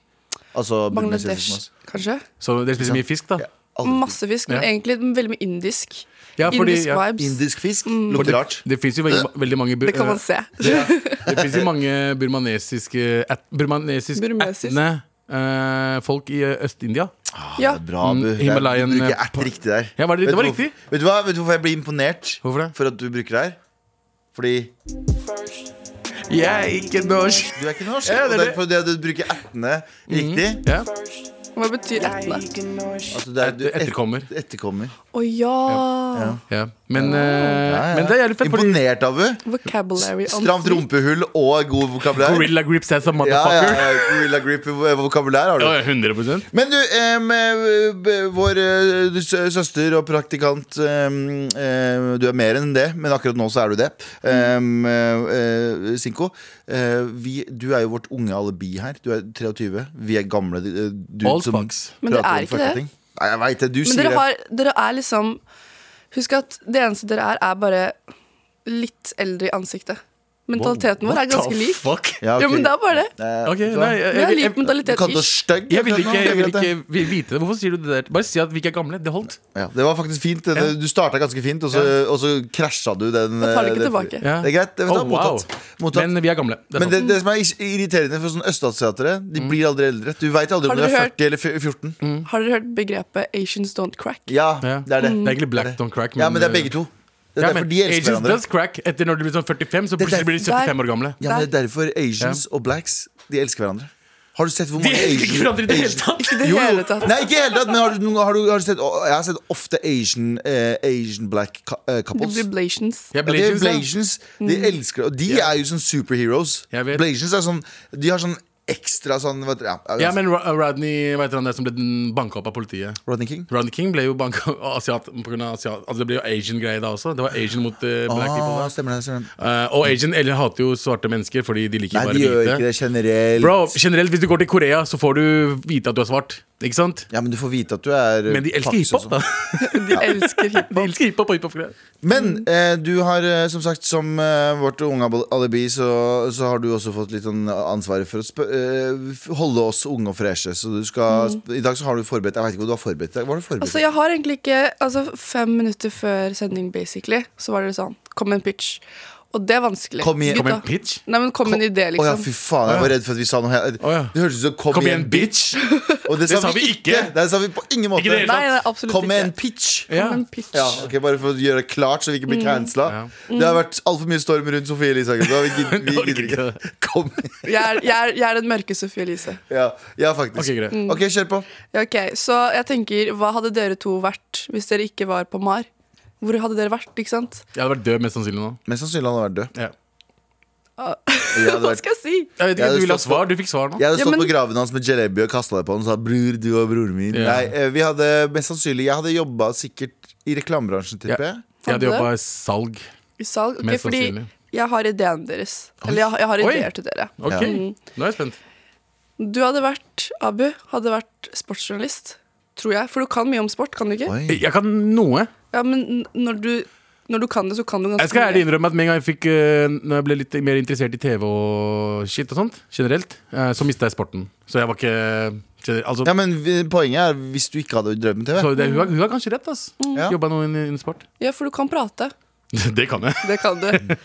Speaker 1: Altså,
Speaker 6: Bangladesh, kanskje.
Speaker 2: Så dere spiser mye fisk, da? Ja,
Speaker 1: Aldri.
Speaker 6: Masse fisk, men
Speaker 2: Ja.
Speaker 6: egentlig veldig mye indisk.
Speaker 2: fordi,
Speaker 6: indisk
Speaker 2: ja,
Speaker 6: vibes.
Speaker 1: Indisk fisk lukter
Speaker 2: det,
Speaker 1: rart.
Speaker 2: det fins jo veldig, veldig mange bur-
Speaker 6: Det kan man
Speaker 2: eh,
Speaker 6: se.
Speaker 2: Det finnes jo mange burmanesiske at, Burmanesisk
Speaker 6: Burmesisk.
Speaker 2: ætende eh, folk i eh, Øst-India.
Speaker 6: Ja.
Speaker 1: Bra, Abu.
Speaker 2: Mm,
Speaker 1: Det er-
Speaker 2: Himalayan-
Speaker 1: Du bruker ert riktig der.
Speaker 2: Ja, var det-
Speaker 1: Vet
Speaker 2: det var
Speaker 1: du hvorfor-
Speaker 2: riktig.
Speaker 1: Vet du, hva, vet du hvorfor jeg blir imponert
Speaker 2: Hvorfor det?
Speaker 1: for at du bruker det her? Fordi
Speaker 2: Jeg er ikke norsk.
Speaker 1: du er ikke norsk.
Speaker 2: Ja,
Speaker 1: og
Speaker 2: det er det. Mhm.
Speaker 1: derfor det at du bruker ertene riktig
Speaker 2: Ja.
Speaker 6: Hva betyr ettene?
Speaker 1: altså det er, du
Speaker 2: Etter- etterkommer.
Speaker 1: et- etterkommer.
Speaker 6: Å ja!
Speaker 2: Ja. Men, eh,
Speaker 1: Ja, ja.
Speaker 2: men det er jævlig fett, fordi
Speaker 1: Imponert, Abu.
Speaker 6: Vocabulary on
Speaker 1: Stramt
Speaker 6: fleek.
Speaker 1: rumpehull og god vokabulær.
Speaker 2: Gorilla grips as a
Speaker 1: Ja, ja,
Speaker 2: motherfucker.
Speaker 1: ja, gorilla grip eh, vokabulær har du.
Speaker 2: Ja, ja, 100
Speaker 1: Men du, em, eh, b- vår eh, sø- søster og praktikant em, eh, Du er mer enn det, men akkurat nå så er du det. Em, eh, eh, Sinko, eh, vi, du er jo vårt unge alibi her. Du er 23. Vi er gamle. eh, Du
Speaker 2: Old
Speaker 1: som
Speaker 2: fucks.
Speaker 6: Men det
Speaker 1: prater
Speaker 6: er
Speaker 1: om
Speaker 6: ikke
Speaker 1: fucka
Speaker 6: det.
Speaker 1: ting. Nei, jeg veit det. Du
Speaker 6: Men
Speaker 1: sier
Speaker 6: dere,
Speaker 1: det.
Speaker 6: har, dere er liksom Husk at det eneste dere er, er bare litt eldre i ansiktet. Mentaliteten vår er ganske lik.
Speaker 2: Fuck?
Speaker 1: Ja, ok.
Speaker 6: Ja, men det er bare det.
Speaker 1: Eh,
Speaker 2: Ok,
Speaker 1: vet du hva?
Speaker 2: nei, jeg,
Speaker 6: Vi
Speaker 2: jeg,
Speaker 6: har
Speaker 2: jeg,
Speaker 6: lik
Speaker 1: Du
Speaker 6: mentalitet.
Speaker 1: kalte oss
Speaker 6: ish.
Speaker 1: stygge.
Speaker 2: jeg vil ikke, jeg vil
Speaker 1: vet det.
Speaker 2: ikke vi- vite det. Hvorfor sier du det der? Bare si at vi ikke er gamle. Det holdt.
Speaker 1: Ja, det var faktisk fint. Det-
Speaker 2: Ja.
Speaker 1: Du starta ganske fint, og så, og så krasja du den.
Speaker 6: Jeg tar det ikke
Speaker 1: eh,
Speaker 6: tilbake.
Speaker 2: Ja.
Speaker 1: Det er greit. Det vet du,
Speaker 2: Oh, wow.
Speaker 1: mottatt. mottatt.
Speaker 2: Men vi er gamle. Det er
Speaker 1: Men det,
Speaker 2: sant. Mm.
Speaker 1: det som er is- irriterende for sånne østasiatere, de blir aldri eldre. Du veit aldri
Speaker 6: Har
Speaker 1: om du er
Speaker 6: dere hørt-
Speaker 1: 40 eller f- 14.
Speaker 6: Har dere hørt begrepet 'Asians don't crack'?
Speaker 1: Ja, det er
Speaker 2: Ja.
Speaker 1: det.
Speaker 2: Det er egentlig black don't crack. eh,
Speaker 1: Ja, men det er begge to. Det er
Speaker 2: Ja,
Speaker 1: derfor
Speaker 2: men
Speaker 1: de elsker
Speaker 2: Asians
Speaker 1: hverandre.
Speaker 2: does crack. Etter når de blir sånn 45, så
Speaker 1: Det er
Speaker 2: plutselig blir de
Speaker 6: derfor-
Speaker 2: 75 år gamle.
Speaker 1: Ja, men det er derfor Asians og blacks De elsker hverandre. Har du sett hvor
Speaker 2: De
Speaker 1: mange
Speaker 2: elsker ikke
Speaker 1: Asian-
Speaker 2: hverandre i det hele tatt!
Speaker 6: Ikke i det hele tatt.
Speaker 1: Nei, ikke i det hele tatt, men har du, noen- har du, har du sett å, Jeg har sett ofte Asian, eh, Asian black ka- eh,
Speaker 6: Det
Speaker 1: couples.
Speaker 6: blir Mm. blations.
Speaker 2: Jeg
Speaker 1: Ja, de er
Speaker 2: Blasians, ja.
Speaker 1: Blasians. De elsker Og de er jo sånn superheroes.
Speaker 2: Jeg vet.
Speaker 1: Blasians er sånn De har sånn ekstra sånn vet, du- ja,
Speaker 2: Ja, men Ro- Rodney, hva heter han der som ble banka opp av politiet?
Speaker 1: Rodney King?
Speaker 2: Rodney King ble jo banka asiat, på grunn av asiat. Altså, det ble jo Asian-greie da også. Det var Asian mot eh, black people.
Speaker 1: Ah,
Speaker 2: da.
Speaker 1: stemmer det. Stemmer det.
Speaker 2: Eh, og Asian eller hater jo svarte mennesker fordi de liker
Speaker 1: Nei,
Speaker 2: bare
Speaker 1: de gjør ikke
Speaker 2: hvite.
Speaker 1: det generelt.
Speaker 2: Bro, generelt, hvis du går til Korea, så får du vite at du er svart. Ikke sant?
Speaker 1: Ja, men du får vite at du er sånn.
Speaker 2: Men de elsker
Speaker 1: faktisk
Speaker 2: hiphop,
Speaker 1: også.
Speaker 2: da.
Speaker 6: De elsker hiphop.
Speaker 2: De elsker hiphop og hiphop-greier.
Speaker 1: Men eh, du har eh, som sagt som eh, vårt unge al- alibi, så, så har du også fått litt sånn ansvaret for å spø eh, f- holde oss unge og freshe. Så du skal sp- I dag så har du forberedt Jeg vet ikke hva du har forberedt deg. Hva har du forberedt
Speaker 6: Mm. Altså, jeg har egentlig ikke Altså, fem minutter før sending, basically, så var det sånn Kom med en pitch. Og det er vanskelig.
Speaker 1: Kom igjen-
Speaker 6: Gutta.
Speaker 2: Kom en pitch?
Speaker 6: Nei, men kom med en idé,
Speaker 1: Å ja,
Speaker 6: liksom.
Speaker 1: fy faen, jeg var redd for at vi sa noe her.
Speaker 2: ja.
Speaker 1: Det hørtes ut som 'kom,
Speaker 2: Kom
Speaker 1: igjen,
Speaker 2: igjen, bitch!
Speaker 1: Og det, sa vi ikke! Det sa vi på ingen måte.
Speaker 2: Ikke det hele
Speaker 6: Nei, nei, absolutt
Speaker 1: Kom med en
Speaker 6: ikke.
Speaker 1: pitch!
Speaker 2: Ja.
Speaker 6: Kom med en pitch.
Speaker 1: Ja, ok, Bare for å gjøre det klart, så vi ikke blir
Speaker 6: Mm.
Speaker 1: cancela. Det har vært altfor mye storm rundt Sofie Elisager. så Vi gidder vi
Speaker 2: Orker
Speaker 1: gidder
Speaker 2: ikke
Speaker 1: ikke. Kom
Speaker 6: Jeg, er, jeg, er, jeg er den mørke Sophie Elise.
Speaker 1: Ja, ja faktisk.
Speaker 2: Ok, greit.
Speaker 1: Ok, kjør på.
Speaker 6: Ja, ok, Så jeg tenker, hva hadde dere to vært hvis dere ikke var på MAR? Hvor hadde dere vært, ikke sant?
Speaker 2: Jeg hadde vært død mest sannsynlig nå.
Speaker 1: Mest sannsynlig hadde han vært død.
Speaker 2: Ja.
Speaker 1: Jeg hadde,
Speaker 6: Hva
Speaker 1: vært,
Speaker 6: skal jeg si?
Speaker 2: Jeg vet
Speaker 1: Jeg
Speaker 2: ikke,
Speaker 1: hadde
Speaker 2: Du ville ha
Speaker 1: stått
Speaker 2: svar. Du fikk svar nå.
Speaker 1: jeg hadde
Speaker 6: Ja,
Speaker 1: stått
Speaker 6: men-
Speaker 1: på graven hans med jalebi og kasta deg på han og sa 'bror, du og broren min'.
Speaker 2: Ja.
Speaker 1: Nei, eh, vi hadde mest sannsynlig Jeg hadde jobba sikkert i reklamebransjen, tipper jeg.
Speaker 2: Jeg hadde jobba i salg.
Speaker 6: I salg? Ok,
Speaker 2: Mest
Speaker 6: fordi
Speaker 2: sannsynlig.
Speaker 6: jeg har ideen deres. Eller jeg, jeg har
Speaker 2: Oi.
Speaker 6: ideer til dere. Mm.
Speaker 2: Ok,
Speaker 1: Ja.
Speaker 2: Nå er jeg spent.
Speaker 6: Du hadde vært, Abu, hadde vært sportsjournalist. Tror jeg. For du kan mye om sport, kan du ikke?
Speaker 1: Oi.
Speaker 2: Jeg kan noe.
Speaker 6: Ja, men n- når du, når du kan det, så kan du ganske
Speaker 2: Jeg skal ærlig
Speaker 6: mye.
Speaker 2: innrømme at med en gang jeg fikk eh, Når jeg ble litt mer interessert i TV og shit og sånt, generelt, eh, så mista jeg sporten. Så jeg var ikke gener- Altså,
Speaker 1: Ja, men vi- poenget er hvis du ikke hadde drevet med TV.
Speaker 2: så det, hun, har, hun har kanskje rett, ass.
Speaker 1: Ja.
Speaker 2: Jobba noe innen innen sport.
Speaker 6: Ja, for du kan prate.
Speaker 2: det kan jeg.
Speaker 6: Det kan du.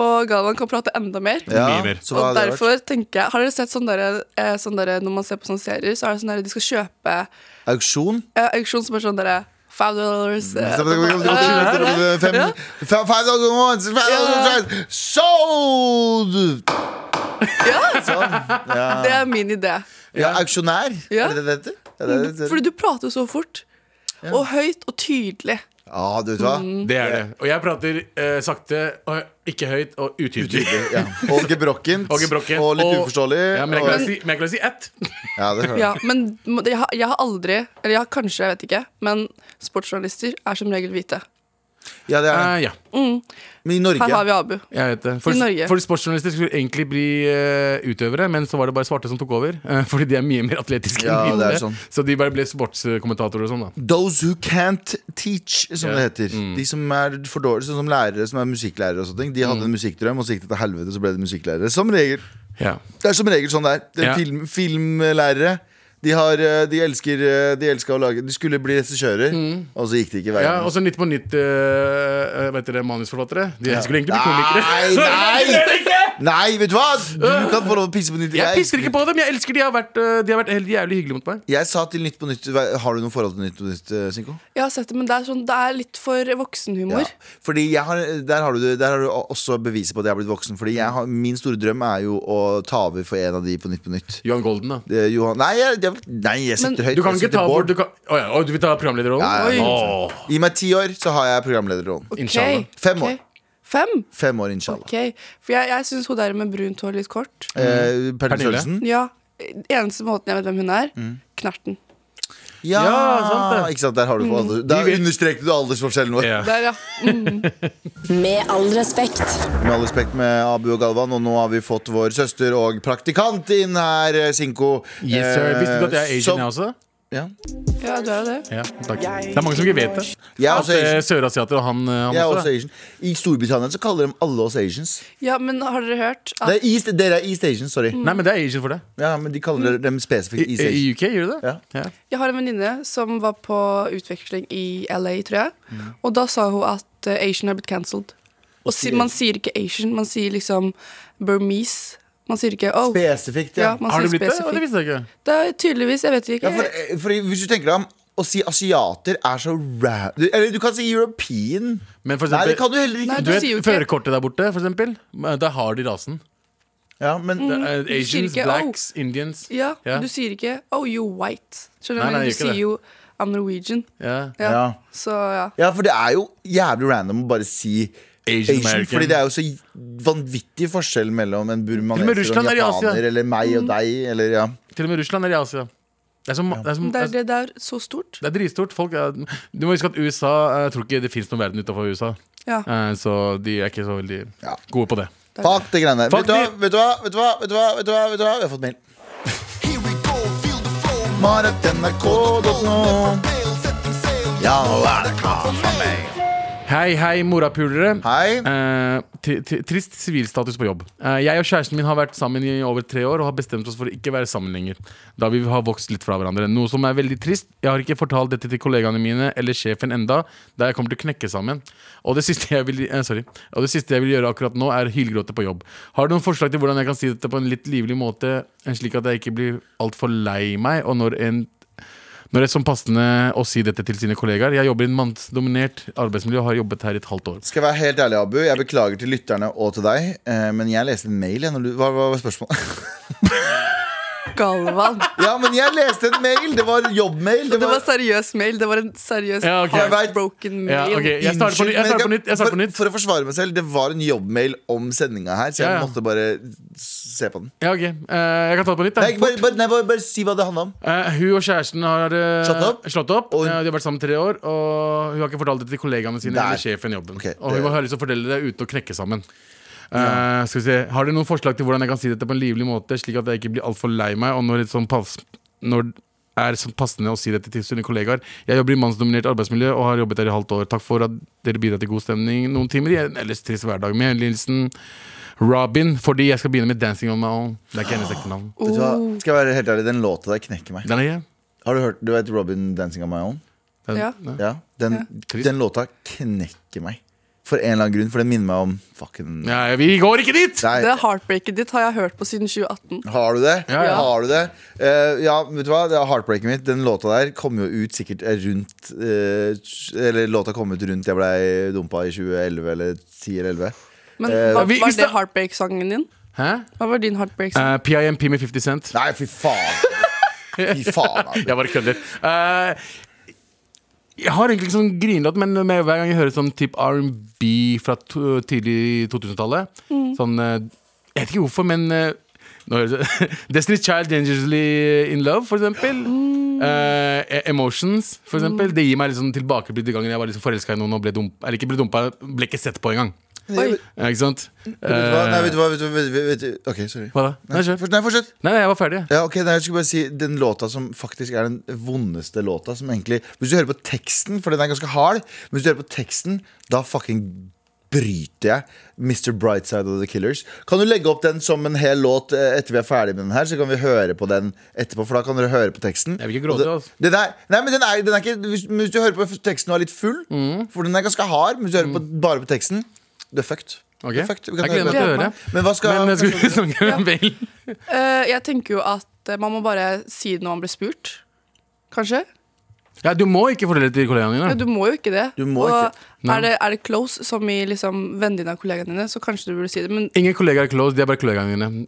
Speaker 6: Og Galvan kan prate enda mer.
Speaker 2: Mye mer.
Speaker 1: så hva
Speaker 6: Og
Speaker 1: hadde det vært?
Speaker 6: derfor tenker jeg Har dere sett sånn derre eh, sånn derre- Når man ser på sånne serier, så er det sånn derre de skal kjøpe eh,
Speaker 1: Auksjon?
Speaker 6: auksjon som er sånn derre Five dollars
Speaker 1: Mm,
Speaker 6: eh,
Speaker 1: Fem-
Speaker 6: Ja.
Speaker 1: Five thousand ones, five thousand ones, Sold! Sånn,
Speaker 6: Det er min idé.
Speaker 1: Ja, auksjonær.
Speaker 6: Ja.
Speaker 1: Er det det det heter? Ja, det er det det heter?
Speaker 6: Fordi du prater så fort. Og høyt og tydelig.
Speaker 1: Ja, du vet hva?
Speaker 6: Mm.
Speaker 2: Det er det. Og jeg prater eh, sakte, og ikke høyt og utydelig.
Speaker 1: Ja. Og gebrokkent.
Speaker 2: Og gebrokkent.
Speaker 1: Og litt
Speaker 2: Og-
Speaker 1: uforståelig.
Speaker 2: Ja, men jeg
Speaker 1: og-
Speaker 2: kan si, men jeg kan si ett.
Speaker 1: Ja, det hører jeg.
Speaker 6: Ja, men må- jeg har, jeg har aldri Eller jeg har kanskje, jeg vet ikke. Men sportsjournalister er som regel hvite.
Speaker 1: ja, det er det.
Speaker 2: Eh, ja.
Speaker 1: Men i Norge
Speaker 6: Her har vi Abu.
Speaker 2: Jeg vet det. For,
Speaker 6: I Norge.
Speaker 2: for sportsjournalister skulle egentlig bli eh, utøvere, men så var det bare svarte som tok over. eh, fordi de er mye mer atletiske
Speaker 1: Ja,
Speaker 2: enn
Speaker 1: det
Speaker 2: hvite.
Speaker 1: er sånn.
Speaker 2: Så de bare ble sportskommentatorer og sånn, da.
Speaker 1: Those who can't teach, som
Speaker 2: Ja. Mm.
Speaker 1: det heter. De som er for dårlige, sånn som lærere som er musikklærere og sånne ting. De
Speaker 2: Mm.
Speaker 1: hadde en musikkdrøm, og så gikk det til helvete, så ble de musikklærere. Som regel.
Speaker 2: Ja.
Speaker 1: Det er som regel sånn det er. Det er
Speaker 2: Ja.
Speaker 1: film, filmlærere. De, har, eh, de elsker eh, De elsker å lage De skulle bli regissører, og så gikk det ikke
Speaker 2: Mm. Ja,
Speaker 1: veien.
Speaker 2: og så Nytt eh, på Nytt, uh, vet dere, manusforfattere. De skulle egentlig bli komikere.
Speaker 1: Nei, nei! Nei, vet du hva! Du kan få lov å pisse på nytt.
Speaker 2: Jeg pisser ikke på dem! Jeg elsker de har vært, øh, de har vært helt jævlig hyggelige mot meg.
Speaker 1: Jeg sa til Nytt på Nytt Har du noe forhold til Nytt på Nytt, eh, Sinko?
Speaker 6: Jeg har sett det, men det er, sånn, det er litt for voksenhumor.
Speaker 1: Fordi jeg har, der, har du, det- der har du også beviset på at jeg har blitt voksen. Fordi jeg har, Min store drøm er jo å ta over for en av de på Nytt på Nytt.
Speaker 2: Johan Golden, da.
Speaker 1: Eh, Johan, nei, jeg, jeg, nei, jeg sitter høyt.
Speaker 2: Du kan
Speaker 1: Jeg
Speaker 2: ikke
Speaker 1: sitter
Speaker 2: ta
Speaker 1: Bård.
Speaker 2: bort Du, kan, Å ja, å, du vil ta programlederrollen?
Speaker 1: Ja, ja,
Speaker 2: Åh.
Speaker 1: Gi meg ti år, så har jeg programlederrollen.
Speaker 6: Ok,
Speaker 2: Inshallah.
Speaker 1: Fem
Speaker 6: ok.
Speaker 1: år.
Speaker 6: Fem?
Speaker 1: Fem år, inshallah.
Speaker 6: Ok, For jeg, jeg syns hun der med brunt hår litt kort
Speaker 1: Eh, Pernille
Speaker 2: Pernille?
Speaker 1: Sørensen?
Speaker 6: Ja, Eneste måten jeg vet hvem hun er,
Speaker 1: Mm.
Speaker 6: Knerten.
Speaker 1: Ja,
Speaker 2: Ja, sant det.
Speaker 1: Ikke sant, der har du på alder. Der
Speaker 2: vet-
Speaker 1: understreket du aldersforskjellen vår.
Speaker 2: Ja.
Speaker 6: Der, ja. Mm.
Speaker 4: Med all respekt.
Speaker 1: Med all respekt med Abu og Galvan, og nå har vi fått vår søster og praktikant inn her, eh, Sinko.
Speaker 2: Yes, sir. Visste du at jeg er
Speaker 1: Eh, som-
Speaker 2: asian, jeg også?
Speaker 1: Ja.
Speaker 6: ja, du er jo det.
Speaker 2: Ja, takk. Det er mange som ikke vet det.
Speaker 1: Jeg er
Speaker 2: At
Speaker 1: også
Speaker 2: eh,
Speaker 1: asian.
Speaker 2: sørasiater og han, eh, han
Speaker 1: Jeg er
Speaker 2: også.
Speaker 1: også asian. I Storbritannia så kaller de alle oss asians.
Speaker 6: Ja, men har dere hørt
Speaker 1: Det
Speaker 6: at
Speaker 1: er East, dere er East Asians, sorry.
Speaker 2: Nei, men det er asian for det.
Speaker 1: Ja, men de kaller dem
Speaker 2: I,
Speaker 1: spesifikt East
Speaker 2: I
Speaker 1: Asians.
Speaker 2: UK gjør du det? Ja.
Speaker 6: Jeg har en venninne som var på utveksling i LA, tror jeg.
Speaker 2: Mm.
Speaker 6: Og da sa hun at eh, Asian har blitt cancelled. Og si, man sier ikke Asian, man sier liksom Burmese. Man sier ikke oh.
Speaker 1: Spesifikt,
Speaker 6: Ja,
Speaker 1: ja.
Speaker 6: man
Speaker 2: Har
Speaker 6: sier
Speaker 2: du blitt det? Å, Det
Speaker 6: spesifikt.
Speaker 2: visste jeg ikke.
Speaker 6: Det er tydeligvis, jeg vet
Speaker 1: ja
Speaker 6: ikke.
Speaker 1: for, eh, for hvis du tenker deg om å si asiater er så rap du- Eller du kan si European.
Speaker 2: Men for
Speaker 1: Nei, det kan
Speaker 2: eksempel,
Speaker 1: du heller ikke.
Speaker 6: Nei,
Speaker 2: du
Speaker 6: sier jo
Speaker 2: vet
Speaker 6: ikke-
Speaker 2: førerkortet der borte, for eksempel. Eh, Der har de rasen.
Speaker 1: Ja, men
Speaker 2: Det er
Speaker 6: du sier
Speaker 2: Asians,
Speaker 6: ikke,
Speaker 2: blacks, Indians.
Speaker 6: Ja,
Speaker 2: Ja.
Speaker 6: du sier ikke oh, you white. Skjønner
Speaker 2: Nei, nei,
Speaker 6: du? Du
Speaker 2: jeg gjør ikke
Speaker 6: sier
Speaker 2: det.
Speaker 6: jo I'm Norwegian.
Speaker 2: Ja.
Speaker 6: Ja.
Speaker 1: Ja.
Speaker 6: Så ja.
Speaker 1: Ja, for det er jo jævlig random å bare si
Speaker 2: Asian
Speaker 1: Asian,
Speaker 2: American.
Speaker 1: fordi det er jo så vanvittig forskjell mellom en
Speaker 2: Til og med
Speaker 1: burmaneser og en
Speaker 2: Russland er i Asia.
Speaker 1: japaner, eller meg og deg, eller
Speaker 6: Mm.
Speaker 1: ja.
Speaker 2: Til og med Russland er i Asia. Det er, så, ma- det er, så,
Speaker 6: Det er det der så stort.
Speaker 2: det er dritstort. Folk er, du må huske at USA eh, Jeg tror ikke det fins noen verden utenfor USA.
Speaker 6: Ja.
Speaker 2: Eh, Så de er ikke så veldig
Speaker 1: Ja.
Speaker 2: gode på det.
Speaker 1: Fuck det greiene der. Vet
Speaker 2: Fuck
Speaker 1: du hva, vet du hva, vet du hva, vet du hva, vet du hva, vet du hva? Vi har fått mail. Ja, nå er det klart for meg.
Speaker 2: Hei, hei, morapulere.
Speaker 1: Hei.
Speaker 2: Eh, tri- tri- trist sivilstatus på jobb. Eh, jeg og kjæresten min har vært sammen i over tre år og har bestemt oss for å ikke være sammen lenger. Da vi har vokst litt fra hverandre. Noe som er veldig trist. Jeg har ikke fortalt dette til kollegaene mine eller sjefen enda, da jeg kommer til å knekke sammen. Og det siste jeg vil, eh, sorry. Og det siste jeg vil gjøre akkurat nå, er hylgråte på jobb. Har du noen forslag til hvordan jeg kan si dette på en litt livlig måte, slik at jeg ikke blir altfor lei meg, og når en når det er som passende å si dette til sine kollegaer. Jeg jobber i en mannsdominert arbeidsmiljø og har jobbet her i et halvt år.
Speaker 1: Skal jeg være helt ærlig, Abu, jeg beklager til lytterne og til deg, eh, men jeg leste en mail. jeg, Når du, hva hva var spørsmålet?
Speaker 6: Galvan.
Speaker 1: Ja, men jeg leste en mail! Det var jobbmail.
Speaker 6: Det var seriøs mail. Det var en seriøs
Speaker 2: Ja, ok.
Speaker 6: heartbroken
Speaker 2: Ja,
Speaker 6: mail.
Speaker 2: ok, Jeg starter på nytt. Jeg starter på nytt, jeg starter på
Speaker 1: for,
Speaker 2: nytt.
Speaker 1: for å forsvare meg selv, det var en jobbmail om sendinga her, så jeg
Speaker 2: Ja, ja.
Speaker 1: måtte bare se på den.
Speaker 2: Ja, ok. Eh, jeg kan ta det på nytt. da.
Speaker 1: Nei, bare, bare, nei, bare, bare si hva det handla om.
Speaker 2: Eh, hun og kjæresten har eh,
Speaker 1: Slått opp?
Speaker 2: slått opp.
Speaker 1: Og-
Speaker 2: Eh, de har vært sammen tre år, og hun har ikke fortalt det til kollegaene sine
Speaker 1: Der.
Speaker 2: eller sjefen i jobben.
Speaker 1: Ok,
Speaker 2: og hun
Speaker 1: det-
Speaker 2: har lyst til å fortelle det uten å knekke sammen. Eh, skal vi se. Har dere noen forslag til hvordan jeg kan si dette på en livlig måte, slik at jeg ikke blir altfor lei meg, og når det sånn pass, når er sånn passende å si dette til sine kollegaer? Jeg jobber i mannsdominert arbeidsmiljø og har jobbet der i halvt år. Takk for at dere bidrar til god stemning noen timer i en ellers trist hverdag. Med en hilsen Robin, fordi jeg skal begynne med Dancing on my own. Det er ikke hennes ekte navn.
Speaker 1: Vet du hva? Skal jeg være helt ærlig, Den låta der knekker meg.
Speaker 2: Den er jeg.
Speaker 1: Har du hørt du vet Robin 'Dancing on my own'?
Speaker 2: Den,
Speaker 6: Ja.
Speaker 1: Ja, Den,
Speaker 2: Trist.
Speaker 1: den låta knekker meg. For en eller annen grunn, for den minner meg om fucking
Speaker 2: Ja, ja, vi går ikke dit!
Speaker 1: Nei,
Speaker 6: Det heartbreaket ditt har jeg hørt på siden 2018.
Speaker 1: Har du det?
Speaker 2: Ja, ja.
Speaker 1: Har du det? Eh, ja, vet du hva? Det er heartbreaket mitt. Den låta der kom jo ut sikkert rundt eh, Eller låta kom ut rundt jeg blei dumpa i 2011 eller 10 eller 11.
Speaker 6: Men
Speaker 1: Eh,
Speaker 6: hva
Speaker 2: vi-
Speaker 6: var
Speaker 2: hvis
Speaker 6: det
Speaker 2: det-
Speaker 6: heartbreak-sangen din?
Speaker 2: Hæ?
Speaker 6: Hva var din heartbreak-sang?
Speaker 2: Eh, PIMP med 50 Cent.
Speaker 1: Nei, fy faen! Fy faen, altså. Abu.
Speaker 2: Jeg bare kødder. Eh, jeg har egentlig ikke sånn grinlåt, men med hver gang jeg hører sånn typ R&B fra to, tidlig 2000-tallet Sånn eh, Jeg vet ikke hvorfor, men eh, nå høres det Destiny's Child Dangerously In Love, for eksempel. Eh, E- Emotions, for eksempel. Det gir meg liksom tilbakeblikk til gangen jeg var liksom forelska i noen og ble dumpa. Eller ikke ble dumpa, ble ikke sett på engang.
Speaker 6: Oi,
Speaker 2: Eh, Ikke sant?
Speaker 1: Vet du hva? Nei, vet du
Speaker 2: hva?
Speaker 1: hva? Vet du, hva? vet, du- vet, du- ok, sorry.
Speaker 2: Hva da? Nei,
Speaker 1: Nei,
Speaker 2: kjør.
Speaker 1: fortsett. Nei, fortsett.
Speaker 2: Nei, nei, jeg var ferdig.
Speaker 1: Ja, ok, nei, jeg skulle bare si Den låta som faktisk er den vondeste låta som egentlig, Hvis du hører på teksten, for den er ganske hard Men hvis du hører på teksten, da fucking bryter jeg Mr. Brightside og The Killers Kan du legge opp den som en hel låt eh, etter vi er ferdig med den her Så kan vi høre på den etterpå, for da kan dere høre på teksten
Speaker 2: Jeg vil ikke
Speaker 1: Og det-
Speaker 2: gråte, altså.
Speaker 1: det der, nei, men den er, den er ikke hvis,
Speaker 2: Mm.
Speaker 1: hvis du hører på teksten og er litt full For den er ganske hard, men hvis du hører på, bare på teksten Du er fucked
Speaker 2: Ok?
Speaker 1: Perfekt, vi kan
Speaker 2: jeg gleder meg til å
Speaker 6: høre.
Speaker 2: høre.
Speaker 1: Men hva skal
Speaker 2: Men jeg skulle snakke med Bale.
Speaker 6: Eh, jeg tenker jo at eh, man må bare si det når man blir spurt. Kanskje?
Speaker 2: Ja, du må ikke fortelle det til kollegaene
Speaker 6: Ja, du
Speaker 2: dine.
Speaker 6: må jo ikke det.
Speaker 1: Du må
Speaker 6: og
Speaker 2: Nei.
Speaker 6: Er, det, er det close, som i liksom vennen din og kollegaene dine, så kanskje du burde si det. Men
Speaker 2: Ingen kollegaer er close, de er bare kollegaene dine.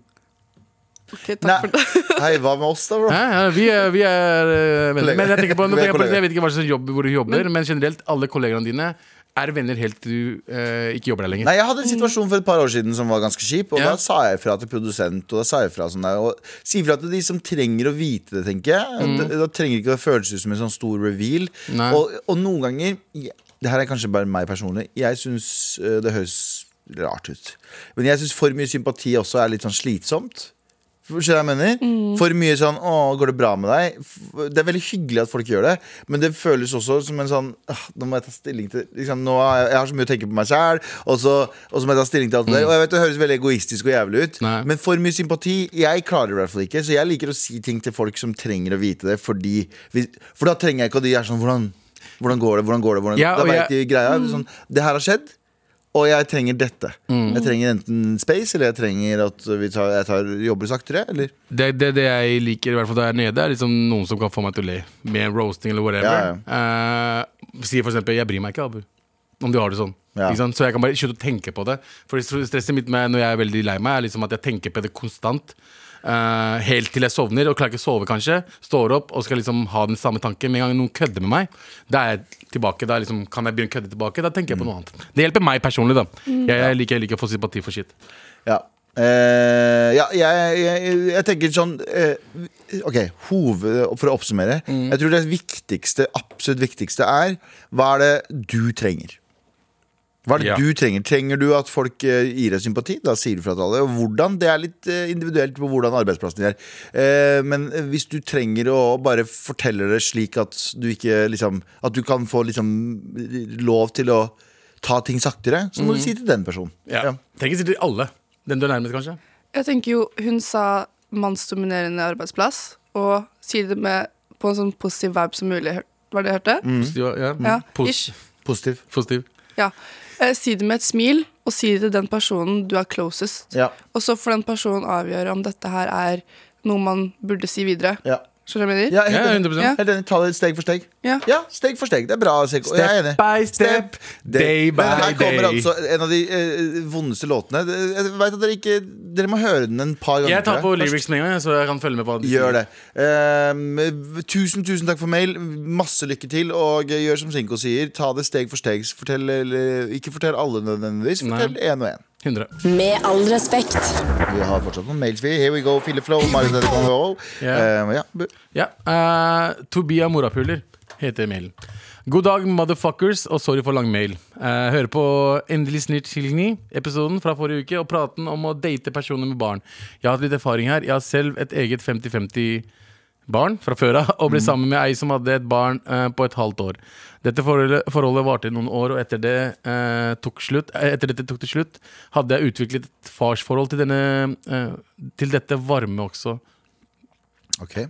Speaker 6: ok, takk
Speaker 1: Nei,
Speaker 6: for det.
Speaker 1: hei, hva med oss da, bro?
Speaker 2: Hæ? Ja, vi er, vi er eh, venner. Men jeg, tenker på, nå
Speaker 1: Vi er
Speaker 2: tenker jeg, på,
Speaker 1: kollegaer.
Speaker 2: jeg vet ikke hva slags jobb hvor du jobber, men generelt, alle kollegaene dine er venner helt til du eh, ikke jobber der lenger.
Speaker 1: Nei, Jeg hadde en situasjon for et par år siden som var ganske kjip. Og
Speaker 2: Ja.
Speaker 1: Da sa jeg fra til produsent. Og da sa jeg fra sånn der Og si fra til de som trenger å vite det, tenker jeg. Da, da trenger ikke det føles ut som en sånn stor reveal.
Speaker 2: Mm. Nei.
Speaker 1: Og, og noen ganger ja, Det her er kanskje bare meg personlig. Jeg syns eh, det høres rart ut. Men jeg syns for mye sympati også er litt sånn slitsomt. Skjønner du hva jeg mener? For mye sånn 'Å, går det bra med deg?' F- Det er veldig hyggelig at folk gjør det, men det føles også som en sånn «Ah, Nå må jeg ta stilling til liksom, nå har jeg, jeg har så mye å tenke på meg sjæl, og, så- og så må jeg ta stilling til alt det der. Og jeg vet det høres veldig egoistisk og jævlig ut,
Speaker 2: Nei.
Speaker 1: men for mye sympati Jeg klarer det i hvert fall ikke, så jeg liker å si ting til folk som trenger å vite det, fordi hvis- For da trenger jeg ikke at de er sånn hvordan, hvordan går det, hvordan går det, hvordan
Speaker 2: Ja,
Speaker 1: Da
Speaker 2: og
Speaker 1: vet de
Speaker 2: jeg-
Speaker 1: greia. Sånn, det her har skjedd. Og jeg trenger dette.
Speaker 2: Mm.
Speaker 1: Jeg trenger enten space, eller jeg trenger at vi tar, jeg tar, jobber saktere. Eller
Speaker 2: Det, det, det jeg liker, i hvert fall der nede, er liksom noen som kan få meg til å le. Med en roasting eller
Speaker 1: Ja,
Speaker 2: whatever. Eh, sier for eksempel 'jeg bryr meg ikke, Abu'. Om du har det sånn.
Speaker 1: Ja.
Speaker 2: Ikke sant? Så jeg kan bare slutte å tenke på det. For stresset mitt med når jeg er veldig lei meg, er liksom at jeg tenker på det konstant. eh, helt til jeg sovner, og klarer ikke å sove, kanskje. Står opp og skal liksom ha den samme tanken. Med en gang noen kødder med meg, da er jeg tilbake. Da er liksom, kan jeg begynne å kødde tilbake? Da tenker jeg
Speaker 1: Mm.
Speaker 2: på noe annet. Det hjelper meg personlig, da. Jeg, jeg, liker, jeg liker å få sympati for shit.
Speaker 1: Ja. Eh, ja jeg, jeg, jeg tenker sånn eh, Ok, hoved, for å oppsummere.
Speaker 2: Mm.
Speaker 1: Jeg tror det viktigste, absolutt viktigste er hva er det du trenger? Hva er det
Speaker 2: Ja.
Speaker 1: du trenger? Trenger du at folk eh, gir deg sympati? Da sier du fra til alle. Og hvordan, det er litt eh, individuelt på hvordan arbeidsplassen din er. Eh, men hvis du trenger å bare fortelle det slik at du ikke liksom At du kan få liksom lov til å ta ting saktere, så må du si til den personen.
Speaker 2: Mm. Ja. Trenger ikke si til alle. Den du er nærmest, kanskje.
Speaker 6: Jeg tenker jo hun sa mannsdominerende arbeidsplass, og si det med, på en sånn positiv vibe som mulig. Hør- Var det jeg hørte?
Speaker 1: Mm.
Speaker 2: Positiv, ja. mm.
Speaker 6: Ja,
Speaker 2: Pos-
Speaker 6: ish.
Speaker 1: Positiv.
Speaker 2: Positiv.
Speaker 6: Ja. Eh, Si det med et smil, og si det til den personen du er closest.
Speaker 1: Ja.
Speaker 6: Og så får den personen avgjøre om dette her er noe man burde si videre.
Speaker 1: Ja.
Speaker 6: Skjønner du hva jeg mener?
Speaker 1: Ja, helt
Speaker 2: Ja,
Speaker 1: enig.
Speaker 2: 100%.
Speaker 1: Helt enig. Ta det steg for steg.
Speaker 6: Ja.
Speaker 1: Ja, steg for steg. Det er bra. Steg. Jeg er enig.
Speaker 2: Step by step, day by
Speaker 1: Men her kommer
Speaker 2: day.
Speaker 1: altså en av de eh, vondeste låtene. Jeg vet at dere ikke Dere må høre den en par ganger.
Speaker 2: Jeg tar på
Speaker 1: tror jeg.
Speaker 2: lyrics med en gang, så jeg kan følge med på.
Speaker 1: Gjør det. Ehm, tusen, tusen takk for mail. Masse lykke til. Og gjør som Sinko sier, ta det steg for steg. Fortell, eller, ikke fortell alle nødvendigvis.
Speaker 2: Nei.
Speaker 1: Fortell én og én.
Speaker 2: 100.
Speaker 4: Med all respekt.
Speaker 1: Vi har fortsatt noen mails. vi. Here we go, Fille Flow. Mario Dette kan vi også.
Speaker 2: Ja.
Speaker 1: Ehm, ja. bu-
Speaker 2: Ja. eh, Tobia Morapuler heter mailen. God dag, motherfuckers, og sorry for lang mail. Eh, hører på Endelig snilt tilgni, episoden fra forrige uke, og praten om å date personer med barn. Jeg har hatt litt erfaring her. Jeg har selv et eget 50-50 barn fra før av, og ble sammen med ei som hadde et barn eh, på et halvt år. Dette forholdet, forholdet varte i noen år, og etter, det, eh, tok slutt, eh, etter dette tok det slutt, hadde jeg utviklet et farsforhold til, denne, eh, til dette varme også.
Speaker 1: Ok.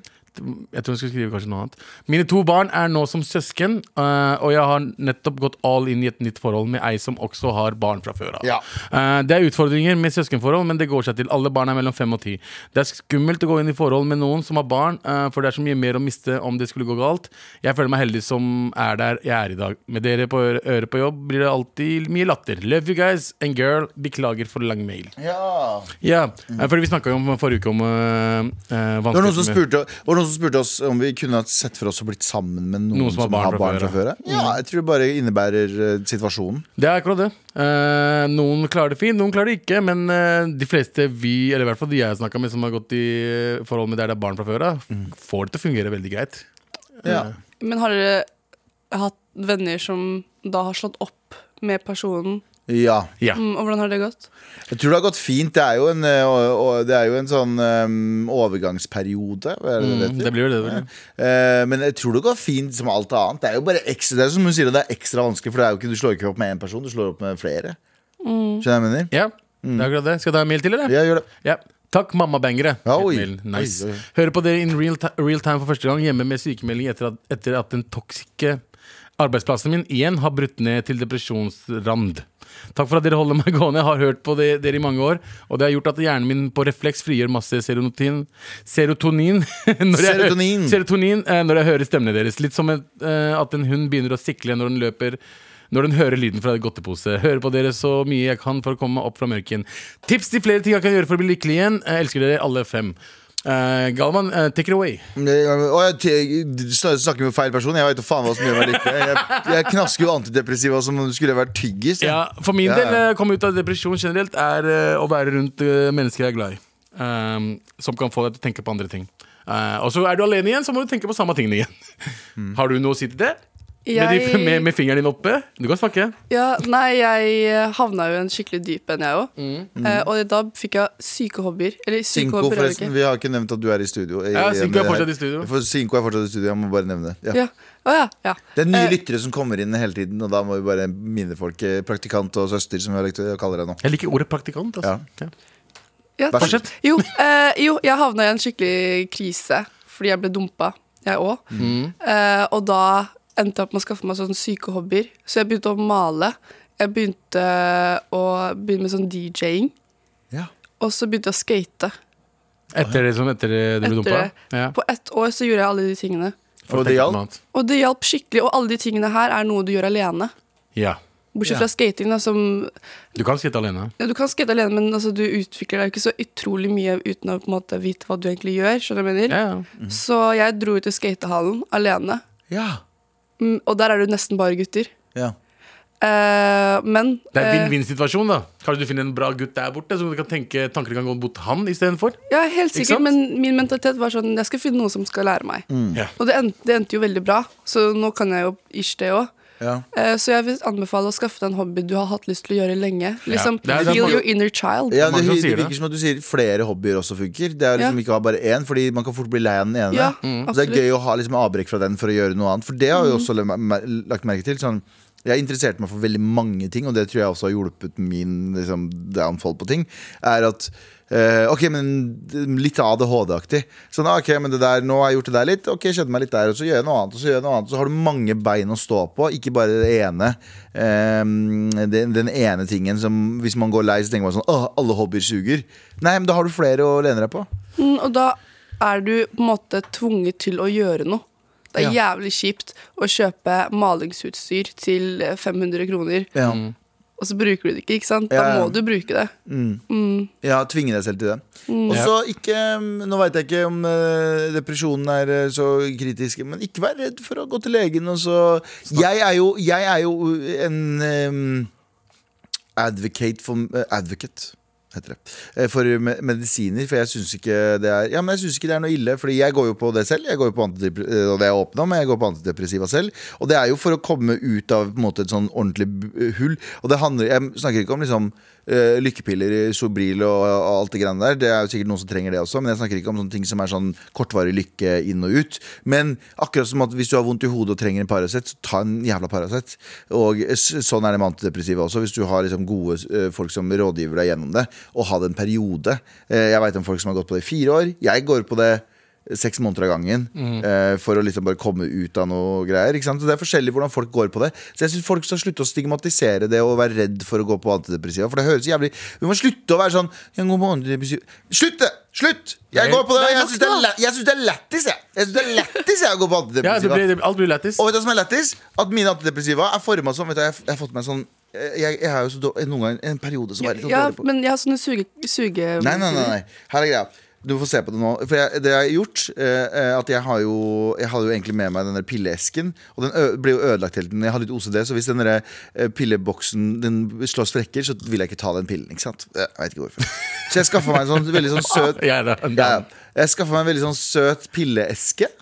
Speaker 2: Jeg tror jeg skulle skrive kanskje noe annet. Mine to barn er nå som søsken, eh, og jeg har nettopp gått all in i et nytt forhold med ei som også har barn fra før av.
Speaker 1: Ja.
Speaker 2: Eh, det er utfordringer med søskenforhold, men det går seg til. Alle barn er mellom fem og ti. Det er skummelt å gå inn i forhold med noen som har barn, eh, for det er så mye mer å miste om det skulle gå galt. Jeg føler meg heldig som er der jeg er i dag. Med dere på øret, øret på jobb blir det alltid mye latter. Love you guys and girl. Beklager for lang mail.
Speaker 1: Ja.
Speaker 2: Ja, eh, fordi vi snakka jo om forrige uke om uh,
Speaker 1: Det var, noen som spurte, det var noen som spurte oss om vi kunne ha sett for oss å blitt sammen med noen, som, har barn, fra, før. ja. Ja, jeg tror det bare innebærer eh, situasjonen.
Speaker 2: Det er akkurat det. Eh, noen klarer det fint, noen klarer det ikke. Men eh, de fleste vi, eller i hvert fall de jeg har snakka med som har gått i eh, forhold med der det er barn fra før av, får det til å fungere veldig greit.
Speaker 1: Ja.
Speaker 6: Men har dere hatt venner som da har slått opp med personen?
Speaker 1: ja.
Speaker 2: Ja.
Speaker 6: Mm, og hvordan har det gått?
Speaker 1: Jeg tror det har gått fint. Det er jo en, eh, og- og- det er jo en sånn eh, overgangsperiode. hva er det det
Speaker 2: Mm,
Speaker 1: heter?
Speaker 2: det blir jo det. vel.
Speaker 1: Eh, men jeg tror det går fint som alt annet. Det er jo bare ekstra, det er som hun sier, det er ekstra vanskelig, for det er jo ikke, du slår ikke opp med én person, du slår opp med flere. Skjønner du hva jeg mener?
Speaker 2: Ja, det er akkurat det. Skal du ha en mail til, eller?
Speaker 1: Mm. Ja, gjør det.
Speaker 2: Ja. Takk, mammabangere.
Speaker 1: Ja, oi.
Speaker 2: Mailen. Nice.
Speaker 1: Oi, oi.
Speaker 2: Hører på dere in real, ti- real time for første gang hjemme med sykemelding etter at, etter at den toksiske arbeidsplassen min igjen har brutt ned til depresjonsrand. Takk for at dere holder meg gående. Jeg har hørt på det, dere i mange år, og det har gjort at hjernen min på refleks frigjør masse serotonin Serotonin når jeg, hører-
Speaker 1: Serotonin.
Speaker 2: serotonin eh, når jeg hører stemmene deres. Litt som et, eh, at en hund begynner å sikle når den løper når den hører lyden fra en godtepose. Hører på dere så mye jeg kan for å komme meg opp fra mørken. Tips til flere ting jeg kan gjøre for å bli lykkelig igjen. Jeg elsker dere alle fem. Eh, Galvan, eh, take it away.
Speaker 1: Og jeg t- du snakker med feil person. Jeg veit da faen hva som gjør meg lykkelig. Jeg, jeg knasker jo antidepressiva som om det skulle vært tyggis. jeg.
Speaker 2: Ja, for min
Speaker 1: Ja,
Speaker 2: del,
Speaker 1: ja.
Speaker 2: eh, komme ut av depresjon generelt, er eh, å være rundt eh, mennesker jeg er glad i. Ehm, som kan få deg til å tenke på andre ting. Eh, og så er du alene igjen, så må du tenke på samme tingene igjen.
Speaker 1: Mm.
Speaker 2: Har du noe å si til det? Med, de,
Speaker 6: Jeg-
Speaker 2: med, med fingeren din oppe? Du kan snakke.
Speaker 6: Ja, nei, jeg eh, havna jo i en skikkelig dyp en, jeg òg. Eh, og da fikk jeg syke hobbyer. Eller syke
Speaker 1: Sinko,
Speaker 6: hobbyer, er det
Speaker 1: forresten.
Speaker 6: ikke.
Speaker 1: Vi har ikke nevnt at du er i studio. i-
Speaker 2: Ja, Sinko er
Speaker 1: med det her.
Speaker 2: fortsatt i studio.
Speaker 1: For Sinko er fortsatt i studio. Jeg må bare nevne det. Ja.
Speaker 6: Ja. Å ja. ja.
Speaker 1: Det er nye
Speaker 6: Eh,
Speaker 1: lyttere som kommer inn hele tiden, og da må vi bare minne folk. eh, Praktikant og søster, som vi har lekt å kalle deg nå.
Speaker 2: Jeg liker ordet praktikant. Altså. Ja.
Speaker 6: ja,
Speaker 1: Vær så
Speaker 6: takk. Jo, eh, jo, jeg havna i en skikkelig krise fordi jeg ble dumpa, jeg òg. Eh, og da endte jeg opp med å skaffe meg sånne syke hobbyer. Så jeg begynte å male. Jeg begynte å begynne med sånn DJ-ing.
Speaker 1: Ja.
Speaker 6: Og så begynte jeg å skate.
Speaker 2: Etter det som etter det du ble
Speaker 6: Etter
Speaker 2: dumpa?
Speaker 6: det.
Speaker 2: Ja.
Speaker 6: På ett år så gjorde jeg alle de tingene.
Speaker 2: For å
Speaker 1: Og det
Speaker 2: tenke på
Speaker 1: hjalp?
Speaker 2: noe annet.
Speaker 6: Og det hjalp skikkelig. Og alle de tingene her er noe du gjør alene.
Speaker 2: Ja.
Speaker 6: Bortsett fra skating, da, som
Speaker 2: Du kan sitte alene.
Speaker 6: ja, Du kan skate alene, men altså, du utvikler deg jo ikke så utrolig mye uten å på en måte vite hva du egentlig gjør. Skjønner du hva jeg mener?
Speaker 2: Ja, ja.
Speaker 6: Så jeg dro ut til skatehallen alene,
Speaker 1: Ja.
Speaker 6: Mm, og der er det jo nesten bare gutter.
Speaker 1: ja.
Speaker 6: Eh, men
Speaker 2: Det er
Speaker 6: eh,
Speaker 2: en vinn-vinn-situasjon. da Kanskje du finner en bra gutt der borte, så du kan tenke tankene kan gå mot han istedenfor.
Speaker 6: Ja, helt
Speaker 2: Ikke
Speaker 6: sikkert,
Speaker 2: sant?
Speaker 6: men min mentalitet var sånn Jeg skal finne noen som skal lære meg.
Speaker 1: Mm.
Speaker 2: Ja.
Speaker 6: Og det endte, det endte jo veldig bra, så nå kan jeg jo ish det òg.
Speaker 1: Ja.
Speaker 6: Så jeg vil anbefale å skaffe deg en hobby du har hatt lyst til å gjøre lenge. Liksom,
Speaker 2: Det er- det er
Speaker 6: Heal
Speaker 2: mange-
Speaker 6: your inner child.
Speaker 1: Ja, det,
Speaker 2: Mange som sier
Speaker 1: det
Speaker 2: det.
Speaker 1: virker som at du sier flere hobbyer også funker. Det er liksom
Speaker 6: Ja.
Speaker 1: ikke å ha bare én, fordi man kan fort bli lei av den ene.
Speaker 6: Ja,
Speaker 1: Og så
Speaker 6: mm.
Speaker 1: det er
Speaker 6: absolutt. Mm.
Speaker 1: gøy å ha liksom avbrekk fra den for å gjøre noe annet. For det har jeg også le- mer- lagt merke til. Sånn, jeg interesserte meg for veldig mange ting, og det tror jeg også har hjulpet min liksom, downfall på ting. Er at eh, Ok, men litt ADHD-aktig. Sånn, ah, ok, men det der, Nå har jeg gjort det der litt, ok, jeg kjenner meg litt der, og så gjør jeg noe annet. Og så gjør jeg noe annet Så har du mange bein å stå på, ikke bare det ene. eh, den, den ene tingen som Hvis man går lei, så tenker man sånn Åh, alle hobbyer suger. Nei, men da har du flere å lene deg på.
Speaker 6: Mm, og da er du på en måte tvunget til å gjøre noe. Det er jævlig kjipt å kjøpe malingsutstyr til eh, 500 kroner,
Speaker 1: Ja,
Speaker 6: og så bruker du det ikke, ikke sant?
Speaker 1: Ja,
Speaker 6: Da
Speaker 1: ja.
Speaker 6: må du bruke det.
Speaker 1: Mm. ja tvinge deg selv til det. Og så ikke mm, Nå veit jeg ikke om eh, depresjonen er eh, så kritisk, men ikke vær redd for å gå til legen. Og så jeg er, jo, jeg er jo en em, advocate for eh, Advocate. Heter det. eh, For me- medisiner, for jeg syns ikke det er Ja, men jeg synes ikke det er noe ille. Fordi jeg går jo på det selv. Jeg går jo på antidepre- eh, og det er jeg åpen om, men jeg går på antidepressiva selv. Og det er jo for å komme ut av på en måte, et sånn ordentlig b- hull. Og det handler Jeg snakker ikke om liksom eh, lykkepiller, Sobril og, og alt det greiene der. Det er jo sikkert noen som trenger det også, men jeg snakker ikke om sånne ting som er sånn kortvarig lykke inn og ut. Men akkurat som at hvis du har vondt i hodet og trenger en Paracet, så ta en jævla Paracet. Og s- sånn er det med antidepressiva også. Hvis du har liksom gode eh, folk som rådgiver deg gjennom det, og ha det en periode. Eh, Jeg veit om folk som har gått på det i fire år. Jeg går på det seks måneder av gangen eh, for å liksom bare komme ut av noe greier. Ikke sant? Så Det er forskjellig hvordan folk går på det. Så jeg synes Folk skal slutte å stigmatisere det og være redd for å gå på antidepressiva. For det høres jævlig Vi må slutte å være sånn Jeg går på antidepressiva Slutt det! Slutt! Jeg går på det, og jeg syns det er læ- jeg synes det er lættis, jeg. Jeg synes det er lættis jeg å gå på
Speaker 2: Ja, det
Speaker 1: antidepressiva.
Speaker 2: blir, det, alt blir lættis.
Speaker 1: Og vet du hva som er lættis? At mine antidepressiva er forma sånn. Vet du, jeg, har- jeg har fått meg sånn Jeg, jeg er jo så dårlig Noen ganger en periode så var jeg litt sånn
Speaker 6: Ja,
Speaker 1: dårlig på
Speaker 6: men jeg har sånne suge... suge
Speaker 1: Nei, nei, nei, nei. Her er greia. Du får se på det nå. For jeg, det jeg har gjort, eh, eh, at jeg har jo Jeg hadde jo egentlig med meg den der pilleesken, og den ø ble jo ødelagt hele tiden. Jeg har litt OCD, så hvis den der eh, pilleboksen Den slår sprekker, så vil jeg ikke ta den pillen. Ikke sant? Eh, Jeg vet ikke hvorfor. Så jeg skaffa meg en sånn veldig sånn søt
Speaker 2: Jeg er da-
Speaker 1: ja, ja. Jeg skaffa meg en veldig sånn søt pilleeske.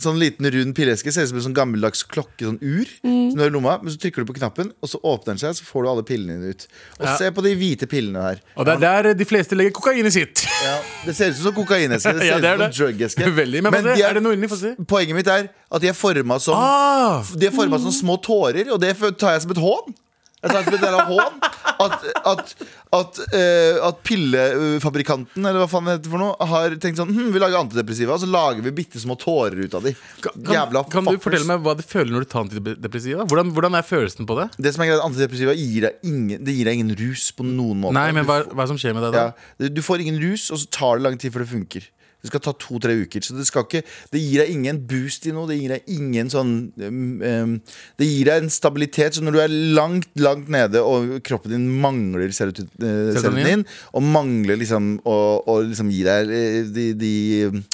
Speaker 1: Sånn liten, rund pilleeske. Ser ut som en sånn gammeldags klokke, sånn ur. Som du har i lomma, men så trykker du på knappen, og så åpner den seg, så får du alle pillene dine ut. Og
Speaker 2: Ja.
Speaker 1: se på de hvite pillene her.
Speaker 2: Og det er der eh, de fleste legger kokainet sitt.
Speaker 1: Ja, det ser ut som kokaineske. Det ser
Speaker 2: Ja, det
Speaker 1: ut
Speaker 2: er
Speaker 1: som drugeske.
Speaker 2: Veldig, men,
Speaker 1: de
Speaker 2: er, er det noe inni? Få se.
Speaker 1: Poenget mitt er at de er forma som
Speaker 2: Ah,
Speaker 1: De er formet som små tårer, og det tar jeg som et hån. Et slags bedre hån. At, at, at, eh, at pillefabrikanten eller hva faen det heter for noe har tenkt sånn hm, Vi lager antidepressiva, og så lager vi bitte små tårer ut av de.
Speaker 2: Kan,
Speaker 1: Jævla
Speaker 2: kan du
Speaker 1: fuckers.
Speaker 2: fortelle meg hva du føler når du tar antidepressiva? Hvordan, hvordan er følelsen på det?
Speaker 1: Det som er greit, Antidepressiva gir deg ingen, det gir deg ingen rus på noen måte.
Speaker 2: Nei, men hva, hva er det som skjer med deg da?
Speaker 1: Ja, du- du får ingen rus, og så tar det lang tid før det funker. Det skal ta to-tre uker. Så det, skal ikke, det gir deg ingen boost i noe. Det gir deg ingen sånn um, um, Det gir deg en stabilitet. Så når du er langt, langt nede, og kroppen din mangler serotin, eh,
Speaker 2: Serotonin?
Speaker 1: serotonin, og mangler liksom å, å liksom gi deg eh, de, de um,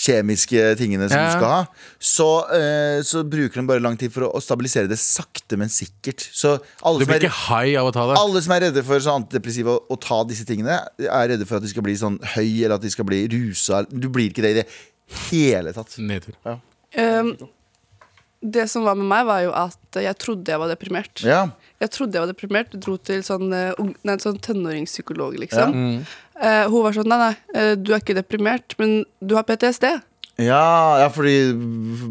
Speaker 1: kjemiske tingene som
Speaker 2: Ja.
Speaker 1: du skal ha, så, eh, så bruker den bare lang tid for å, å stabilisere det sakte, men sikkert. Så alle
Speaker 2: Du
Speaker 1: som
Speaker 2: blir
Speaker 1: er
Speaker 2: ikke high av å ta det?
Speaker 1: alle som er redde for sånn antidepressiva og ta disse tingene, er redde for at de skal bli sånn høy eller at de skal bli rusa. Du blir ikke det i det hele tatt.
Speaker 2: Nedtur.
Speaker 6: Um, det som var med meg, var jo at jeg trodde jeg var deprimert.
Speaker 1: Ja,
Speaker 6: Jeg trodde jeg var deprimert. Dro til sånn, eh, ung- nei, sånn tenåringspsykolog, liksom.
Speaker 1: Mm.
Speaker 6: Eh, hun var sånn Nei, nei, eh, du er ikke deprimert, men du har PTSD.
Speaker 1: ja, ja fordi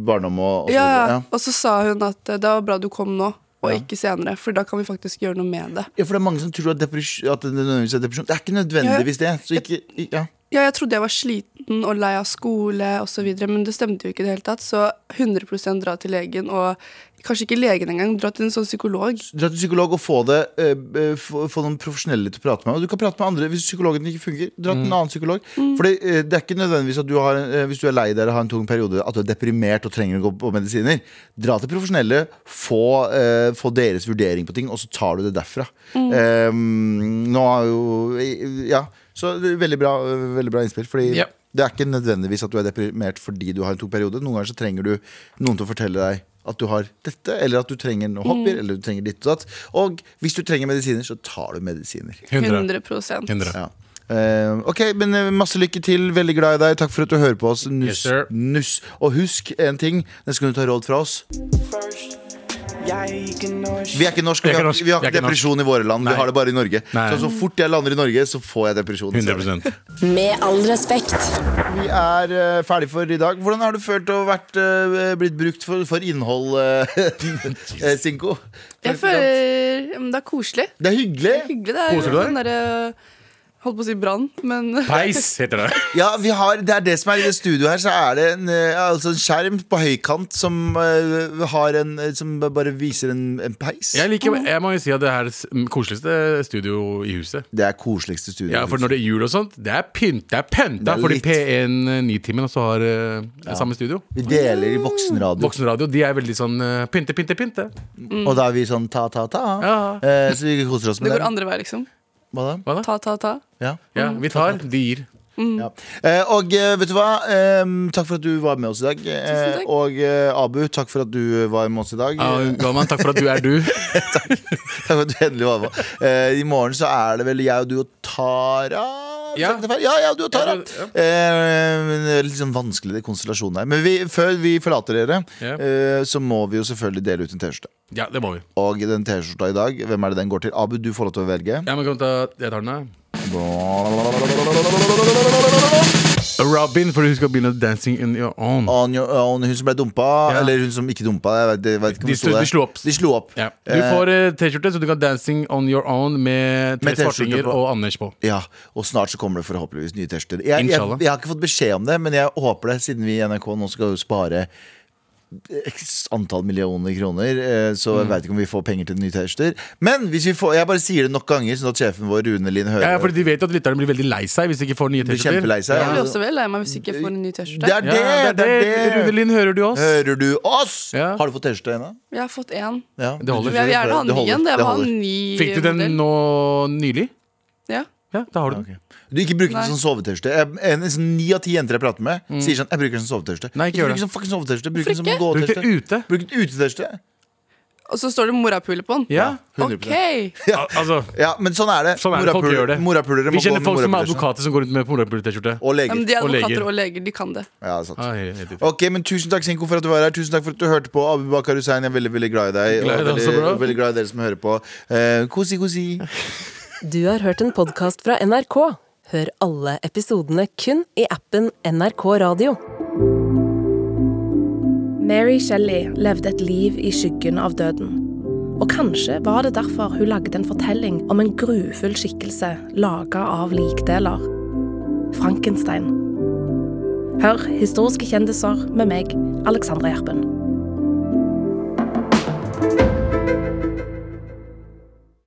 Speaker 1: barndom og, og så
Speaker 6: Ja,
Speaker 1: videre.
Speaker 6: ja. Og så sa hun at eh, det var bra du kom nå, og
Speaker 1: Ja.
Speaker 6: ikke senere, for da kan vi faktisk gjøre noe med det.
Speaker 1: Ja, for det er mange som tror at, depress- at det nødvendigvis er depresjon. Det er ikke nødvendigvis det. Så ikke, ja.
Speaker 6: Ja, jeg trodde jeg var sliten og lei av skole osv., men det stemte jo ikke i det hele tatt. Så 100 dra til legen, og kanskje ikke legen engang, dra til en sånn psykolog.
Speaker 1: Dra til psykolog og få, det, eh, eh, få, få noen profesjonelle til å prate med. Og du kan prate med andre hvis psykologen ikke funker. Dra til en annen psykolog. For det, eh, det er ikke nødvendigvis at du har, eh, hvis du er lei deg eller har en tung periode, at du er deprimert og trenger å gå på medisiner. Dra til profesjonelle, få, eh, få deres vurdering på ting, og så tar du det derfra. Eh, nå har jo Ja. Så det er veldig bra, veldig bra innspill. Fordi
Speaker 2: Ja.
Speaker 1: det er ikke nødvendigvis at du er deprimert fordi du har en tung periode. Noen ganger så trenger du noen til å fortelle deg at du har dette, eller at du trenger noen hobbyer, eller du trenger ditt og datt. Og hvis du trenger medisiner, så tar du medisiner.
Speaker 2: 100.
Speaker 6: 100
Speaker 2: Hundre.
Speaker 1: Ja. Eh, ok, men eh, masse lykke til. Veldig glad i deg. Takk for at du hører på oss.
Speaker 2: Yes,
Speaker 1: Nuss.
Speaker 2: sir.
Speaker 1: nuss. Og husk en ting. Den skal du ta råd fra oss.
Speaker 5: Først Jeg er ikke norsk
Speaker 1: Vi er ikke norsk, og
Speaker 2: Vi er
Speaker 1: vi
Speaker 2: ikke
Speaker 1: har,
Speaker 2: norsk.
Speaker 1: vi har
Speaker 2: Vi er
Speaker 1: ikke
Speaker 2: ikke
Speaker 1: depresjon i våre land.
Speaker 2: Nei.
Speaker 1: Vi har det bare i Norge.
Speaker 2: Nei.
Speaker 1: Så så fort jeg lander i Norge, så får jeg depresjon.
Speaker 2: 100
Speaker 4: Med all respekt.
Speaker 1: Vi er eh, ferdig for i dag. Hvordan har du følt å vært, eh, blitt brukt for, for innhold, eh, Sinko?
Speaker 6: Jeg føler ja, men Det er koselig.
Speaker 1: Det er hyggelig.
Speaker 6: Hyggelig. Det er
Speaker 2: Koser du deg?
Speaker 6: sånn derre Holdt på å si brann, men
Speaker 2: Peis heter det.
Speaker 1: Ja, vi har, det er det som er i det studioet her. Så er det en, eh, altså en skjerm på høykant som, eh, har en, eh, som bare viser en, en peis.
Speaker 2: Jeg, liker, jeg må jo si at det er det s- koseligste studio i huset.
Speaker 1: Det er koseligste studioet.
Speaker 2: Ja, for når det er jul og sånt, det er pynt. Det er pynta
Speaker 1: Det er
Speaker 2: fordi
Speaker 1: litt-
Speaker 2: P1 9-timen også har eh, samme studio.
Speaker 1: vi deler i voksenradio,
Speaker 2: Voksenradio de er veldig sånn eh, pynte, pynte, pynte.
Speaker 1: og da er vi sånn ta, ta, ta.
Speaker 2: Ja.
Speaker 1: Eh, så vi koser oss
Speaker 6: det
Speaker 1: med
Speaker 6: går
Speaker 1: det.
Speaker 6: andre vei, liksom.
Speaker 1: Hva da?
Speaker 2: Hva da?
Speaker 6: Ta, ta, ta.
Speaker 1: Ja.
Speaker 2: Ja, vi tar, de gir.
Speaker 1: Ja. Eh, og eh, vet du hva? Em, takk for at du var med oss i dag. Eh,
Speaker 6: takk.
Speaker 1: og eh, Abu, takk for at du var med oss i dag. Eh,
Speaker 2: Ja, Galman, takk for at du er du.
Speaker 1: Takk for at du endelig var med. Eh, I morgen så er det vel jeg og du og Tara. hvis
Speaker 2: Ja.
Speaker 1: jeg ikke tar feil. ja, ja, du og Tara.
Speaker 2: Ja, du- ja.
Speaker 1: Eh, men det er litt sånn vanskelig det konstellasjonen her. Men vi, før vi forlater dere,
Speaker 2: Ja.
Speaker 1: eh, så må vi jo selvfølgelig dele ut en T-skjorte.
Speaker 2: Ja, det må vi.
Speaker 1: Og den T-skjorta i dag, hvem er det den går til? Abu, du får lov til å velge.
Speaker 2: Ja, men kan vi ta, jeg tar den her. Robin, for du skal begynne dancing in your own.
Speaker 1: On your own, hun som ble dumpa,
Speaker 2: Ja.
Speaker 1: eller hun som ikke dumpa. Jeg vet, jeg vet ikke om
Speaker 2: De
Speaker 1: det sto
Speaker 2: sto- de
Speaker 1: der.
Speaker 2: slo opp.
Speaker 1: De slo opp.
Speaker 2: Ja. Du får eh, T-skjorte, så du kan dancing on your own med tre
Speaker 1: Med T-skjorte
Speaker 2: svartinger
Speaker 1: på.
Speaker 2: og Anders på.
Speaker 1: Eh, Ja, Og snart så kommer det forhåpentligvis nye T-skjorter. Jeg, jeg,
Speaker 2: Inshallah.
Speaker 1: jeg har ikke fått beskjed om det, men jeg håper det, siden vi i NRK nå skal jo spare x antall millioner kroner. eh, Så
Speaker 2: Mm.
Speaker 1: jeg veit ikke om vi får penger til nye T-skjorter. Men hvis vi får, jeg bare sier det nok ganger, sånn at sjefen vår, Rune Linn, hører
Speaker 2: Ja, for de vet jo at lytterne blir veldig lei seg hvis de ikke får nye
Speaker 1: blir
Speaker 2: T-skjorter.
Speaker 1: kjempelei seg.
Speaker 6: Jeg blir også veldig lei meg hvis ikke jeg får en ny
Speaker 1: Det
Speaker 6: T-skjorte.
Speaker 1: er
Speaker 2: Ja,
Speaker 1: det! det, er det.
Speaker 2: Rune Lind, hører du oss?
Speaker 1: Hører du oss?
Speaker 2: Ja.
Speaker 1: Har du fått T-skjorte ennå?
Speaker 6: Jeg har fått én.
Speaker 1: Ja.
Speaker 2: Det holder.
Speaker 6: Men jeg vil gjerne
Speaker 1: Det
Speaker 6: ha en ny
Speaker 1: holder,
Speaker 6: en. Jeg
Speaker 1: det
Speaker 6: vil ha en
Speaker 1: holder.
Speaker 6: ny
Speaker 2: Fikk du den
Speaker 6: modell.
Speaker 2: nå nylig?
Speaker 6: Ja.
Speaker 2: Ja, da har du den.
Speaker 1: Ok. Du ikke bruker den
Speaker 6: Nei.
Speaker 1: som sovetørste. Jeg- En en sånn Ni av ti jenter jeg prater med, sier sånn Jeg bruker den som sovetørste.
Speaker 2: Mm. Nei, ikke gjør
Speaker 1: bruk den
Speaker 2: det.
Speaker 1: som fucking sovetørste. Bruk den som
Speaker 6: Hvorfor
Speaker 2: Bruk det
Speaker 1: gåtørste.
Speaker 2: ute.
Speaker 1: Bruk den utetørste.
Speaker 6: Og så står det morapule på den.
Speaker 2: Ja.
Speaker 6: OK!
Speaker 1: 100%.
Speaker 2: Al altså,
Speaker 1: Ja, men sånn er det.
Speaker 2: sånn er det folk gjør det.
Speaker 1: morapulere
Speaker 2: Vi
Speaker 1: må gå
Speaker 2: kjenner
Speaker 1: med
Speaker 2: folk som er
Speaker 1: morapuler.
Speaker 2: advokater som går rundt med morapuler-T-skjorte.
Speaker 1: Og
Speaker 6: Ja,
Speaker 1: leger.
Speaker 6: men de er
Speaker 2: Og leger.
Speaker 6: advokater og leger. De kan det.
Speaker 1: Ja, det er sant.
Speaker 2: Ah, helt- helt riktig.
Speaker 1: Ok, men Tusen takk Sinko, for at du var her. Tusen takk for at du hørte på. Abu Bakar Hussein, jeg er veldig veldig glad i deg.
Speaker 2: Glad i deg
Speaker 1: og
Speaker 2: også,
Speaker 1: veldig,
Speaker 2: bro.
Speaker 1: og veldig glad i dere som hører på. Eh, kosi, kosi.
Speaker 7: Du har hørt en podkast fra NRK. Hør alle episodene kun i appen NRK Radio.
Speaker 8: Mary Shelley levde et liv i skyggen av døden. Og kanskje var det derfor hun lagde en fortelling om en grufull skikkelse laga av likdeler. Frankenstein. Hør historiske kjendiser med meg, Alexandra Gjerpen.